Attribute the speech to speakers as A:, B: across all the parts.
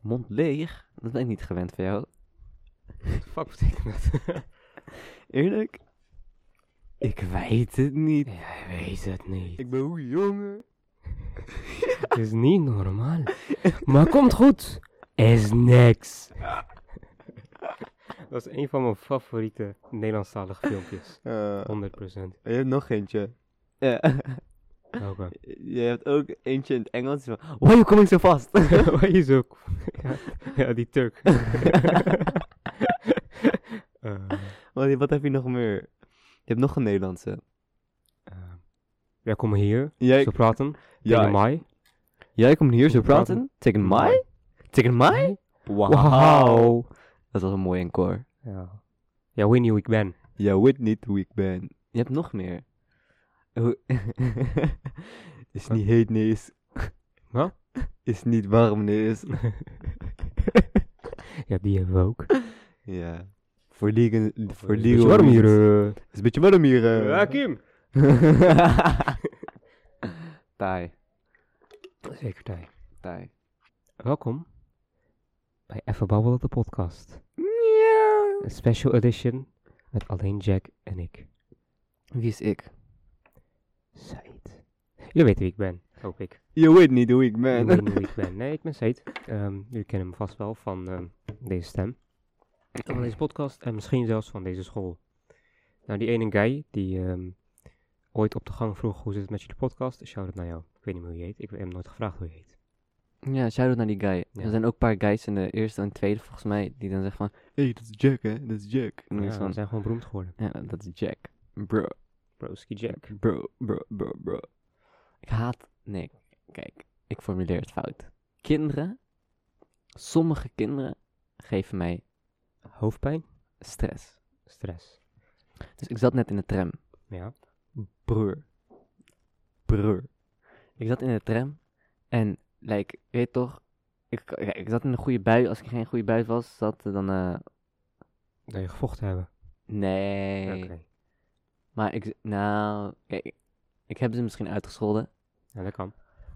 A: mond leeg. Dat ben ik niet gewend van jou.
B: What the fuck betekent dat?
A: Eerlijk? Ik weet het niet.
B: Jij weet het niet.
A: ben hoe jongen.
B: Het is niet normaal. Maar komt goed. Is niks. Dat is een van mijn favoriete Nederlandstalige filmpjes. 100%.
C: Eh, je hebt nog eentje.
A: Ja.
B: Welke?
A: Je hebt ook eentje in het Engels. Van, Why you coming so fast?
B: Waar is ook? Ja, ja, die Turk. Eh,
C: Wat, wat heb je nog meer? Je hebt nog een Nederlandse.
B: eh, welkom hier.
C: Jij,
B: Zo praten.
C: ja,
B: Tegen mij.
A: Jij komt hier zo praten?
B: Praten.
A: Tegen mij? Tegen mij?
B: Wauw.
A: Dat was een mooi encore.
B: Ja. Ja, weet niet hoe ik ben.
C: jij weet niet hoe ik ben.
A: Je hebt nog meer. Hoe-
C: Is niet heet, nee. Is,
B: Wat?
C: is niet warm, nee. Is.
B: Ja, die hebben we ook.
C: Ja. Voor die... Voor
B: Is
C: die
B: het warm hier. eh?
C: Is een beetje warm hier. eh.
B: Ja, Kim.
A: Thai,
B: Zeker, Thij.
A: Thai.
B: Welkom bij Even Babbelen, de podcast. Een special edition met alleen Jack en ik.
A: Wie is ik?
B: Said. Jullie weten wie ik ben, hoop ik.
C: Je weet niet hoe ik
B: Jullie
C: ben.
B: weten wie ik ben. Nee, ik ben Said. Ehm, jullie kennen me vast wel van ehm, deze stem. Van deze podcast en misschien zelfs van deze school. Nou, die ene guy die ehm, ooit op de gang vroeg hoe zit het met jullie podcast. Shout-out naar jou. Ik weet niet meer hoe je heet. Ik heb hem nooit gevraagd hoe je heet.
A: Ja, shout-out naar die guy. Er
B: Ja.
A: zijn ook een paar guys in de eerste en tweede, volgens mij, die dan zeggen van...
C: Hé, hey, dat is Jack, hè? Dat is Jack.
A: en dan is
B: Ja,
A: van,
B: we zijn gewoon beroemd geworden.
A: ja, dat is Jack.
C: Bro,
B: Broski Jack.
C: bro, bro, bro, bro.
A: Ik haat... Nee, kijk. Ik formuleer het fout. Kinderen, sommige kinderen, geven mij
B: Hoofdpijn?
A: stress.
B: Stress.
A: Dus ik zat net in de tram.
B: Ja.
C: Broer. Broer.
A: Ik zat in de tram en, like, je weet toch, ik, ja, ik zat in een goede bui. Als ik geen goede bui was, zat er dan, eh,
B: Dat je gevochten hebben.
A: nee.
B: Oké.
A: Maar ik, nou, kijk, ik heb ze misschien uitgescholden.
B: Ja, dat kan.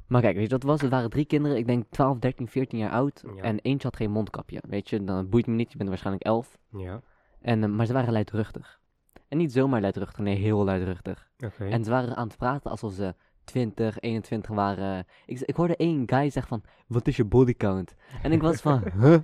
A: Maar kijk, weet je, dat was, het waren drie kinderen, ik denk 12, 13, 14 jaar oud.
B: Ja.
A: En eentje had geen mondkapje, weet je, dan boeit me niet, je bent waarschijnlijk 11.
B: Ja.
A: En, eh, maar ze waren luidruchtig. En niet zomaar luidruchtig, nee, heel luidruchtig.
B: Oké.
A: En ze waren aan het praten alsof ze 20, 21 waren. Ik, ik hoorde één guy zeggen van, wat is je bodycount? En ik was van,
C: Huh?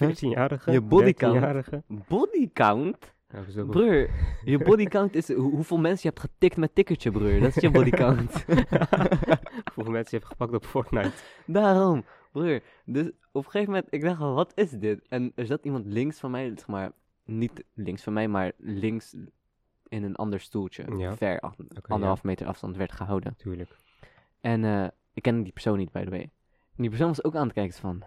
B: 14-jarige.
A: Je bodycount.
B: 13-jarige.
A: bodycount?
B: Ja, dat is ook wel-
A: Broer, je bodycount is hoe- hoeveel mensen je hebt getikt met tikkertje, broer. Dat is je bodycount.
B: Hoeveel mensen je hebt gepakt op Fortnite.
A: Daarom, broer. Dus op een gegeven moment, ik dacht van, wat is dit? En er zat iemand links van mij, zeg maar, niet links van mij, maar links in een ander stoeltje.
B: Ja.
A: Ver, af, anderhalf meter afstand werd gehouden.
B: Tuurlijk.
A: En eh, ik kende die persoon niet, by the way. En die persoon was ook aan het kijken van,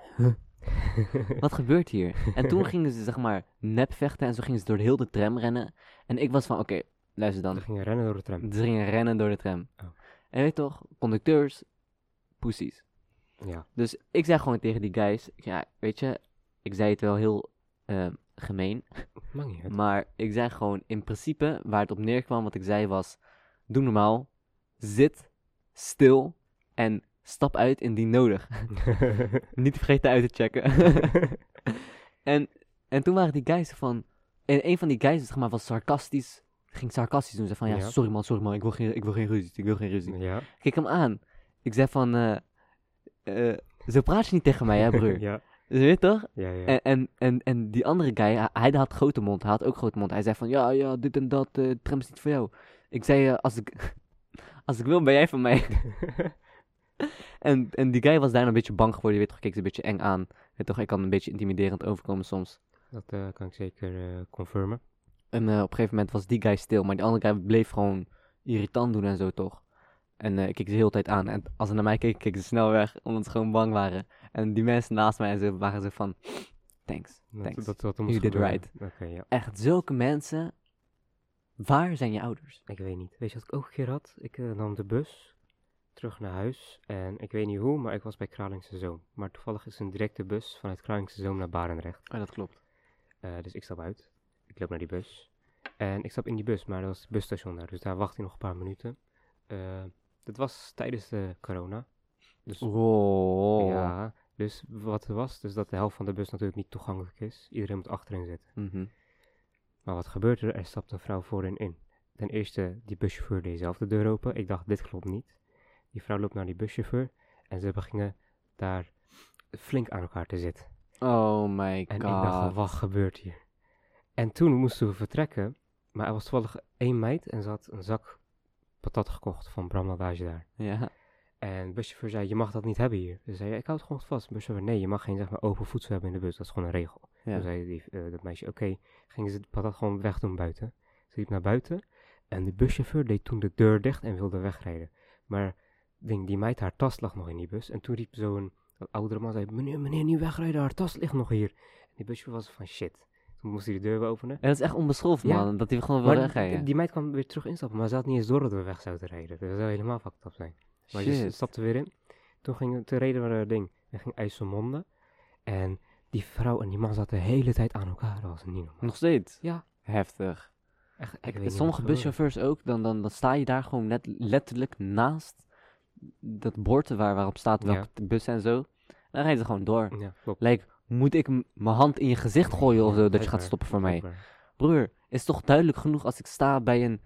A: wat gebeurt hier? En toen gingen ze, zeg maar, nep vechten en zo gingen ze door de hele de tram rennen. En ik was van, oké, luister dan.
B: Dan ging je rennen door de tram.
A: Ze gingen rennen door de tram.
B: Oh.
A: En je weet toch, conducteurs, poesies.
B: Ja.
A: Dus ik zei gewoon tegen die guys, ja, weet je, ik zei het wel heel eh, gemeen,
B: Mag niet uit.
A: maar ik zei gewoon in principe waar het op neerkwam, wat ik zei was, doe normaal, zit stil en stap uit indien nodig. Niet vergeten uit te checken. en, en toen waren die guys van, en een van die guys zeg maar, was sarcastisch, ging sarcastisch doen, zei van, ja,
B: Ja.
A: sorry man, sorry man, ik wil geen, ik wil geen ruzie, ik wil geen ruzie.
B: ja.
A: Ik keek hem aan, ik zei van, eh, eh, zo praat je niet tegen mij hè broer.
B: Ja.
A: Dus weet je toch?
B: Ja, ja.
A: En, en, en, en die andere guy, hij, hij had grote mond, hij had ook grote mond. Hij zei van, ja, ja, dit en dat, eh tram is niet voor jou. Ik zei, eh, als, ik, als ik wil, ben jij van mij. en, en die guy was daarna een beetje bang geworden, je weet toch, keek ze een beetje eng aan. En toch, ik kan een beetje intimiderend overkomen soms.
B: Dat eh, kan ik zeker eh, confirmen.
A: En eh, op een gegeven moment was die guy stil, maar die andere guy bleef gewoon irritant doen en zo toch. En eh, ik keek ze de hele tijd aan. En als ze naar mij keken, keken ze snel weg, omdat ze gewoon bang waren. En die mensen naast mij en zo waren zo van, thanks,
B: Dat,
A: thanks.
B: dat, dat moet
A: You did
B: gebeuren.
A: right.
B: Oké, ja.
A: echt zulke mensen. Waar zijn je ouders?
B: Ik weet niet. Weet je wat ik ook een keer had? Ik eh, nam de bus terug naar huis. En ik weet niet hoe, maar ik was bij Kralingse Zoom. Maar toevallig is een directe bus vanuit Kralingse Zoom naar Barendrecht.
A: Oh, dat klopt.
B: Eh, dus ik stap uit. Ik loop naar die bus. En ik stap in die bus, maar dat was het busstation daar. Dus daar wacht ik nog een paar minuten. Eh, dat was tijdens de corona. Dus
A: Wow.
B: ja, Dus wat er was, dus dat de helft van de bus natuurlijk niet toegankelijk is. Iedereen moet achterin zitten.
A: Mhm.
B: Maar wat gebeurde er? Er stapte een vrouw voorin in. Ten eerste, die buschauffeur deed zelf de deur open. Ik dacht, dit klopt niet. Die vrouw loopt naar die buschauffeur en ze begingen daar flink aan elkaar te zitten.
A: Oh my
B: En
A: god.
B: ik dacht, al, wat gebeurt hier? En toen moesten we vertrekken, maar er was toevallig één meid en ze had een zak patat gekocht van Bram Lavage daar.
A: Ja.
B: En de buschauffeur zei, je mag dat niet hebben hier. Ze zei, ik houd het gewoon vast. De buschauffeur, nee, je mag geen zeg maar, open voedsel hebben in de bus, dat is gewoon een regel. Toen
A: Ja.
B: zei die, eh, dat meisje, oké, gingen ze het patat gewoon wegdoen buiten. Ze liep naar buiten en de buschauffeur deed toen de deur dicht en wilde wegrijden. Maar ding, die meid, haar tas lag nog in die bus. En toen riep zo'n dat oudere man, zei, meneer, meneer, niet wegrijden, haar tas ligt nog hier. En die buschauffeur was van, shit. Toen moest hij de deur weer openen.
A: En dat is echt onbeschoft,
B: Ja.
A: man. Dat hij gewoon wil
B: Maar die,
A: wegrijden.
B: die meid kwam weer terug instappen, maar ze had niet eens door dat we weg zouden rijden. Dat zou helemaal fucked up zijn. Maar ze
A: Shit.
B: stapte weer in. Toen, ging, toen reden we naar dat ding. We gingen IJsselmonde. En die vrouw en die man zaten de hele tijd aan elkaar. Dat was niet normaal.
A: Nog steeds?
B: Ja.
A: Heftig.
B: Echt, ik
A: Ik-
B: weet niet
A: sommige
B: wat er gebeurde.
A: buschauffeurs ook, dan, dan, dan sta je daar gewoon net, letterlijk naast dat bord waar, waarop staat welke bus en zo. Dan rijden ze gewoon door.
B: Ja, klopt.
A: Like, moet ik m- mijn hand in je gezicht gooien of
B: Ja,
A: zo dat je
B: blijkbaar,
A: gaat stoppen voor mij?
B: blijkbaar.
A: Broer, is toch duidelijk genoeg als ik sta bij een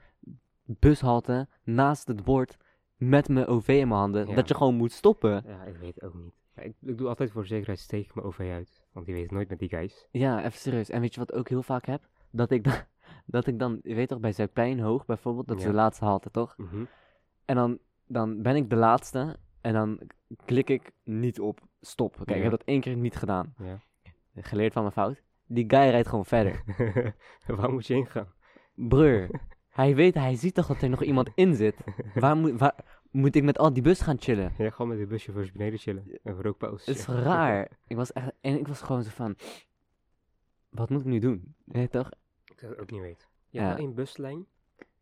A: bushalte naast het bord met mijn OV in mijn handen,
B: Ja.
A: dat je gewoon moet stoppen?
B: Ja, ik weet het ook niet. Maar Ik, ik doe altijd voor de zekerheid steek ik mijn OV uit. Want die weet het nooit met die guys.
A: Ja, even serieus. En weet je wat ik ook heel vaak heb? Dat ik, da- dat ik dan, je weet toch, bij Zuidplein hoog bijvoorbeeld, dat is
B: Ja.
A: de laatste halte, toch?
B: Mhm.
A: En dan, dan ben ik de laatste en dan klik ik niet op stop. Kijk, ik
B: Ja.
A: heb dat één keer niet gedaan.
B: Ja.
A: Geleerd van mijn fout. Die guy rijdt gewoon verder.
B: Waar moet je heen gaan?
A: Breur, hij weet, hij ziet toch dat er nog iemand in zit. Waar, moet waar moet ik met al die bus gaan chillen?
B: Ja, gewoon met de buschauffeurs beneden chillen. Een rookpauze.
A: Het is raar. Ik was echt, en ik was gewoon zo van, wat moet ik nu doen? Weet je toch?
B: Ik zou het ook niet weten. Je
A: Ja.
B: hebt wel één buslijn.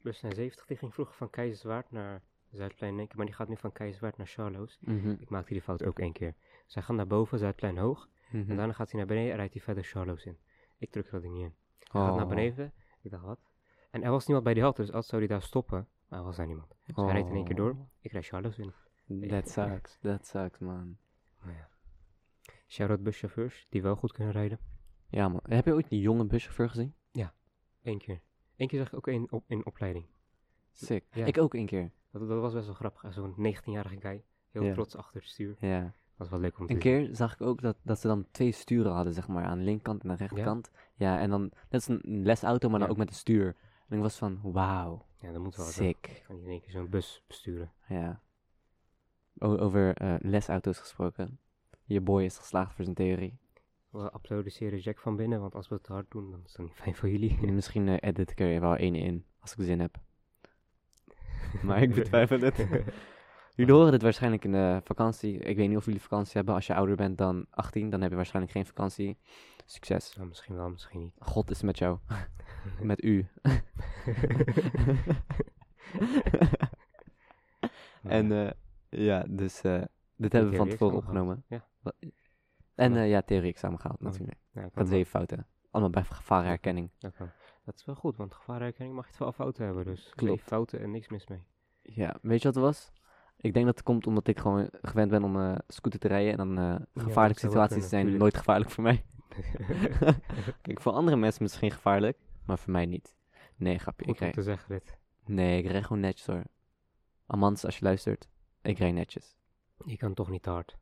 B: Buslijn 70, die ging vroeger van Keizerswaard naar Zuidplein Nikken, maar die gaat nu van Keizerswaard naar Charloes.
A: Mhm,
B: Ik maakte die fout ook één keer. Zij gaan naar boven, Zuidplein hoog,
A: mhm.
B: en daarna gaat hij naar beneden en rijdt hij verder Charloes in. Ik druk dat ding niet in. Hij gaat
A: Oh,
B: naar beneden, ik dacht wat. En er was niemand bij die halte, dus altijd zou hij daar stoppen, maar er was daar niemand. Dus hij rijdt in één keer door, ik rijd Charloes in.
A: oh. That sucks, that sucks man.
B: Maar ja. Shout-out buschauffeurs, die wel goed kunnen rijden.
A: Ja man, heb je ooit die jonge buschauffeur gezien?
B: Eén keer. Eén keer zag ik ook één op, in opleiding.
A: Sick.
B: Ja.
A: Ik ook één keer.
B: Dat, dat was best wel grappig, zo'n 19-jarige guy, heel
A: Ja.
B: trots achter het stuur.
A: Ja.
B: Dat was wel leuk om te
A: Een
B: zien.
A: keer zag ik ook dat, dat ze dan twee sturen hadden, zeg maar, aan de linkerkant en aan de rechterkant. Ja, en dan, dat is een een lesauto, maar dan
B: Ja.
A: ook met een stuur. En ik was van, wauw,
B: Ja, dat moet wel. zo. Ik
A: sick.
B: kan niet in één keer zo'n bus besturen.
A: Ja. O- over eh, lesauto's gesproken. Je boy is geslaagd voor zijn theorie.
B: We applaudisseren Jack van binnen, want als we het te hard doen, dan is dat niet fijn voor jullie.
A: En misschien eh, edit ik er wel één in, als ik zin heb. Maar ik betwijfel het. Jullie horen dit waarschijnlijk in de vakantie. Ik weet niet of jullie vakantie hebben. Als je ouder bent dan 18, dan heb je waarschijnlijk geen vakantie. Succes.
B: Nou, misschien wel, misschien niet.
A: God is met jou. met u. En eh, ja, dus eh, dit hebben we van tevoren opgenomen.
B: Ja.
A: En
B: Ja.
A: eh, ja, theorie-examen gehaald
B: Oké.
A: natuurlijk.
B: Ja,
A: Ik had
B: nou, kan wel.
A: zeven fouten. Allemaal bij gevarenherkenning.
B: Dat kan. Dat is wel goed, want gevaarherkenning mag je wel fouten hebben, dus twee
A: Klopt.
B: fouten en niks mis mee.
A: Ja, weet je wat het was? Ik denk dat het komt omdat ik gewoon gewend ben om eh, scooter te rijden. En dan eh,
B: dat
A: gevaarlijke
B: zou wel
A: situaties
B: kunnen,
A: zijn
B: tuurlijk.
A: nooit gevaarlijk voor mij. Kijk, voor andere mensen misschien gevaarlijk, maar voor mij niet. Nee, grapje. Ik
B: Goed om
A: rij...
B: te zeggen dit.
A: Nee, ik rij gewoon netjes hoor. Amans, als je luistert, ik rij netjes.
B: Je kan toch niet te hard.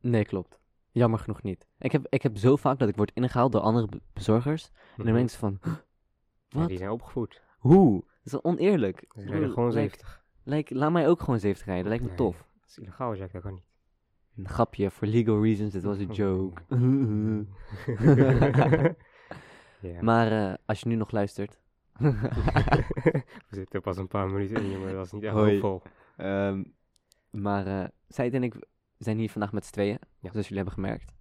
A: Nee, klopt. Jammer genoeg niet. Ik heb, ik heb zo vaak dat ik word ingehaald door andere be- bezorgers. En dan
B: Mhm.
A: mensen van,
B: Ja,
A: wat?
B: die zijn opgevoed.
A: Hoe? Dat is wel oneerlijk.
B: Ze
A: Broer,
B: rijden gewoon
A: like-
B: 70.
A: like, laat mij ook gewoon 70 rijden, lijkt me
B: Nee,
A: tof.
B: Dat is illegaal, Jack, dat kan niet.
A: Een grapje, voor legal reasons, dit was een
B: Oh.
A: joke.
B: ja.
A: maar eh, als je nu nog luistert.
B: We zitten pas een paar minuten in, maar dat is niet echt
C: Hoi.
B: hoopvol.
C: Ehm,
A: maar eh Said en ik zijn hier vandaag met z'n tweeën,
B: Ja.
A: zoals jullie hebben gemerkt.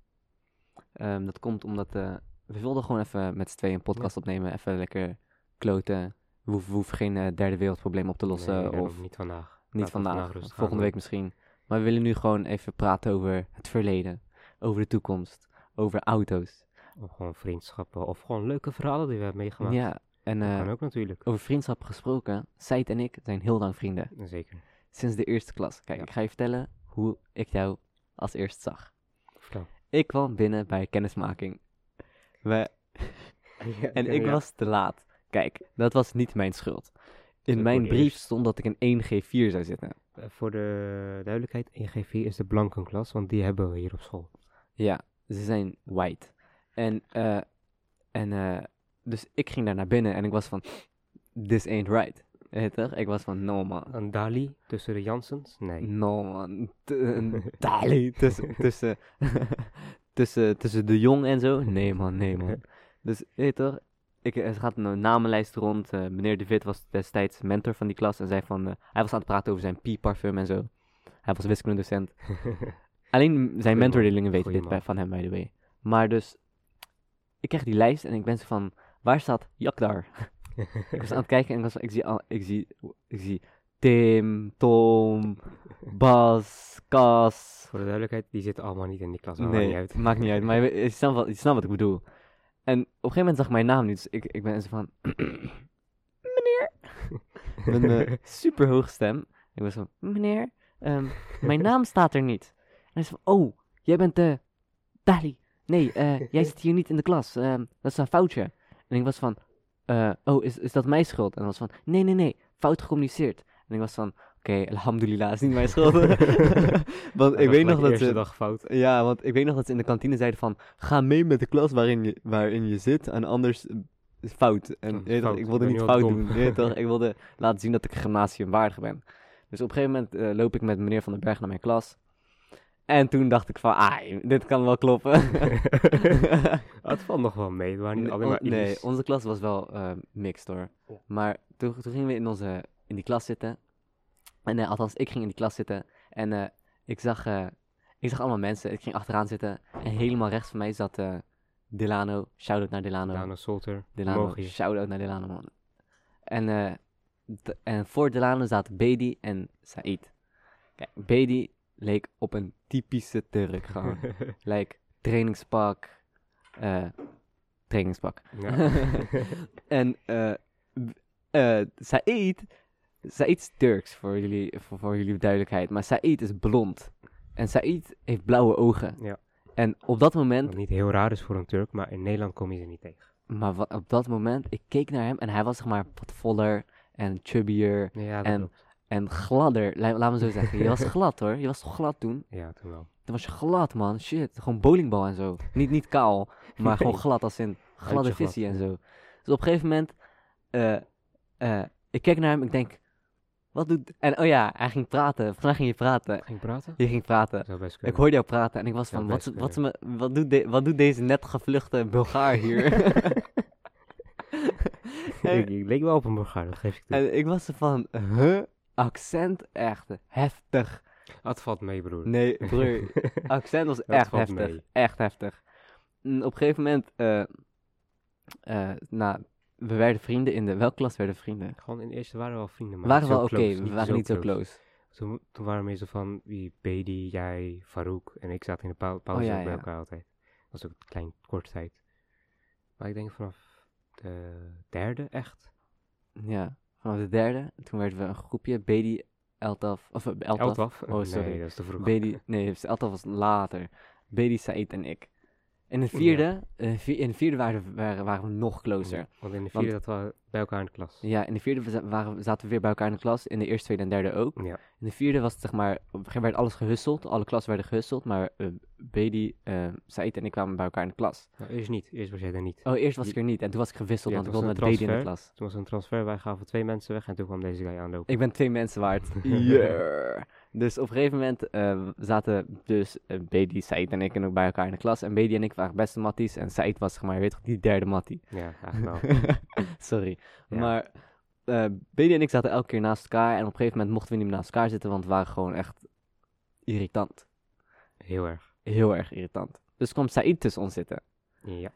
A: Ehm, dat komt omdat eh, we wilden gewoon even met z'n tweeën een podcast opnemen, even lekker kloten. We hoeven, we hoeven geen eh, derde wereldprobleem op te lossen
B: Nee, daarom
A: eh, of
B: niet vandaag. Laten
A: Niet
B: we
A: vandaag,
B: rustig aan
A: volgende
B: doen.
A: week misschien. Maar we willen nu gewoon even praten over het verleden, over de toekomst, over auto's.
B: Of gewoon vriendschappen, of gewoon leuke verhalen die we hebben meegemaakt. Ja,
A: Ja, en
B: dat
A: eh,
B: kan ook natuurlijk.
A: over vriendschap gesproken, Said en ik zijn heel lang vrienden,
B: Zeker.
A: sinds de eerste klas. Kijk,
B: Ja.
A: ik ga je vertellen hoe ik jou als eerst zag.
B: Vertel.
A: Ik kwam binnen bij kennismaking. We, en ik was te laat. Kijk, dat was niet mijn schuld. In
B: Dat
A: mijn
B: voor de
A: brief
B: eerst.
A: stond dat ik een 1G4 zou zitten.
B: Eh, voor de duidelijkheid, 1G4 is de blankenklas, want die hebben we hier op school.
A: Ja, ze zijn white. En, eh, en eh, dus ik ging daar naar binnen en ik was van, this ain't right. Weet je toch? Ik was van, no man.
B: Een Dali tussen de Jansens? Nee.
A: No man. T- een Dali tussen, tussen, tussen, tussen de jong en zo. Nee man, nee man. Dus weet je toch? Ik, er gaat een namenlijst rond. Eh, meneer De Wit was destijds mentor van die klas en zei van, eh, hij was aan het praten over zijn pie-parfum en zo. Hij was wiskundedocent. Alleen zijn
B: man.
A: mentorleerlingen weten
B: Goeie
A: dit
B: man.
A: bij, van hem, by the way. Maar dus, ik kreeg die lijst en ik ben zo van, waar staat Jakdar? ik was aan het kijken en ik, was, ik, zie, al, ik, zie, ik zie Tim, Tom, Bas, Cas.
B: voor de duidelijkheid, die zitten allemaal niet in die klas. allemaal
A: Nee,
B: niet uit.
A: maakt niet uit, maar je, weet- je, snapt wat, je snapt wat ik bedoel. En op een gegeven moment zag ik mijn naam niet, dus ik, ik ben zo van, met mijn eh, superhoge stem. Ik was van, meneer, ehm, mijn naam staat er niet. En hij zei van, oh, jij bent eh Dali. Nee, eh, jij zit hier niet in de klas. Ehm, dat is een foutje. En ik was van, eh, oh, is, is dat mijn schuld? En hij was van, nee, nee, nee, fout gecommuniceerd. En ik was van, oké, alhamdulillah, is niet mijn schuld. want
B: Dat
A: ik
B: was
A: weet
B: mijn
A: nog dat
B: eerste
A: ze...
B: dag fout.
A: Ja, want ik weet nog dat ze in de kantine zeiden van... Ga mee met de klas waarin je, waarin je zit en anders eh, is fout. En
B: Mm,
A: je weet toch,
B: fout.
A: ik wilde
B: Ik ben
A: niet
B: heel
A: fout
B: dom.
A: doen. je weet toch, ik wilde laten zien dat ik gymnasiumwaardig ben. Dus op een gegeven moment eh, loop ik met meneer Van den Berg naar mijn klas. En toen dacht ik van, ah, dit kan wel kloppen.
B: Het valt nog wel mee, het waren niet
A: Nee,
B: alleen maar
A: on- nee, oh,
B: Ibis.
A: onze klas was wel eh, mixed hoor.
B: Ja.
A: Maar toen, toen gingen we in, onze, in die klas zitten. En eh, althans, ik ging in die klas zitten. En eh, ik, zag, eh, ik zag allemaal mensen. Ik ging achteraan zitten. En helemaal rechts van mij zat eh, Delano. Shout-out naar Delano.
B: Dana Solter,
A: Delano.
B: Mogi.
A: Shout-out naar Delano, man. En, eh, d- en voor Delano zaten Bedi en Said. Kijk, Bedi leek op een typische Turk gewoon. like, trainingspak. eh, trainingspak.
B: Ja.
A: En eh eh Said, Said is Turks voor jullie, voor, voor jullie duidelijkheid, maar Said is blond. En Said heeft blauwe ogen.
B: Ja.
A: En op dat moment,
B: Wat niet heel raar is voor een Turk, maar in Nederland kom je ze niet tegen.
A: maar wa- op dat moment, ik keek naar hem en hij was zeg maar wat voller en chubbier
B: Nee, Ja, dat
A: En-
B: klopt.
A: en gladder. Laat, laat me zo zeggen, je was glad hoor, je was toch glad toen?
B: Ja, toen wel.
A: Toen was je glad man, shit, gewoon bowlingbal en zo. Niet, niet kaal, Maar gewoon
B: Nee.
A: glad als in gladde
B: Uitje glad,
A: visie en
B: ja.
A: zo. Dus op een gegeven moment, eh, eh, ik kijk naar hem, ik denk, wat doet... En oh ja, hij ging praten, vandaag ging je praten.
B: Ging je praten?
A: Je ging praten.
B: Zou best
A: Ik
B: kunnen.
A: hoorde jou praten en ik was
B: Ja,
A: van, wat,
B: best
A: ze- wat, ze me, wat, doet de- wat doet deze net gevluchte Bulgaar hier? en-
B: ik, ik leek wel op een Bulgaar, dat geef ik toe.
A: en ik was zo van, huh? Accent echt heftig.
B: dat valt mee, broer.
A: Nee, broer, accent was
B: Dat
A: echt
B: valt
A: heftig.
B: mee.
A: Echt heftig. En op een gegeven moment, eh, eh, nou, we werden vrienden in de. Welke klas werden we vrienden?
B: Gewoon in de eerste waren we wel vrienden,
A: We
B: maar
A: waren
B: niet zo
A: wel oké,
B: close,
A: we waren niet zo close.
B: Toen, toen waren we meestal van, wie, Bedi, jij, Farouk en ik zaten in de pau- pauze
A: Oh, ja,
B: ook bij
A: ja.
B: elkaar altijd. Dat was ook een klein, korte tijd. Maar ik denk vanaf de derde echt.
A: Ja, vanaf de derde, toen werden we een groepje. Bedi, Eltaf, of eh, Eltaf.
B: Eltaf?
A: Oh, sorry.
B: Nee, dat is te vroeg.
A: Bedi, nee, dus Eltaf was later. Bedi, Said en ik. In de vierde, in de vier- in de vierde waren, we- waren, waren we nog closer.
B: Ja, Want in de vierde zaten we bij elkaar in de klas.
A: oh, Ja, in de vierde we za- waren, zaten we weer bij elkaar in de klas. In de eerste, tweede en derde ook.
B: Ja.
A: In de vierde was het zeg maar, op een gegeven moment werd alles gehusteld. Alle klassen werden gehusteld. Maar eh Bedi, eh Said en ik kwamen bij elkaar in de klas.
B: Nou, eerst niet. Eerst was jij er niet.
A: Oh, eerst was ik er niet. En toen was ik gewisseld,
B: Ja,
A: want ik
B: het
A: wilde
B: was
A: met
B: een
A: Bedi in de
B: transfer.
A: klas.
B: Toen was er een transfer, wij gaven twee mensen weg en toen kwam deze guy aanlopen.
A: Ik ben twee mensen waard. Yeah. Dus op een gegeven moment eh, zaten dus eh, Bedi, Said en ik en ook bij elkaar in de klas. En Bedi en ik waren beste matties. En Said was zeg maar, je weet toch, die derde mattie.
B: Ja, eigenlijk wel.
A: Sorry.
B: Ja.
A: Maar eh Bedi en ik zaten elke keer naast elkaar. En op een gegeven moment mochten we niet meer naast elkaar zitten, want we waren gewoon echt irritant.
B: Heel erg.
A: Heel erg irritant. Dus kwam Said tussen ons zitten.
B: Ja.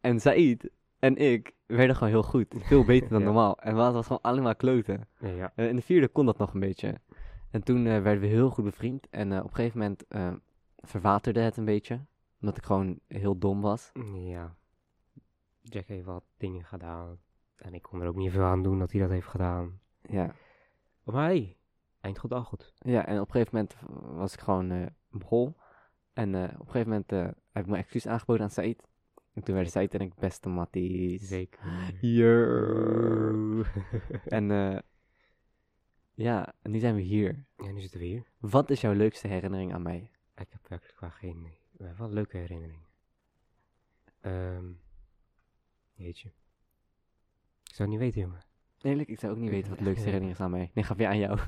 A: En Said en ik werden gewoon heel goed. Veel beter dan
B: Ja.
A: normaal. En we hadden gewoon alleen maar kloten.
B: Ja, ja.
A: En in de vierde kon dat nog een beetje. En toen eh, werden we heel goed bevriend. En eh, op een gegeven moment eh, verwaterde het een beetje. Omdat ik gewoon heel dom was.
B: Ja. Jack heeft wat dingen gedaan. En ik kon er ook niet veel aan doen dat hij dat heeft gedaan.
A: Ja.
B: Maar hey, eind goed al goed.
A: Ja, en op een gegeven moment was ik gewoon eh, een hol. En eh, op een gegeven moment eh, heb ik mijn excuus aangeboden aan Said. En toen werd Said en ik beste matties.
B: Zeker.
C: Yo.
A: En eh, ja, en nu zijn we hier.
B: Ja, nu zitten we hier.
A: Wat is jouw leukste herinnering aan mij?
B: Ik heb werkelijk waar geen... We hebben wel leuke herinneringen. Ehm jeetje. Ik zou het niet weten, jongen.
A: Eerlijk, ik zou ook niet
B: Ik
A: weten
B: heb
A: wat de leukste
B: echt geen
A: herinnering is aan mij. Nee, ga weer aan jou.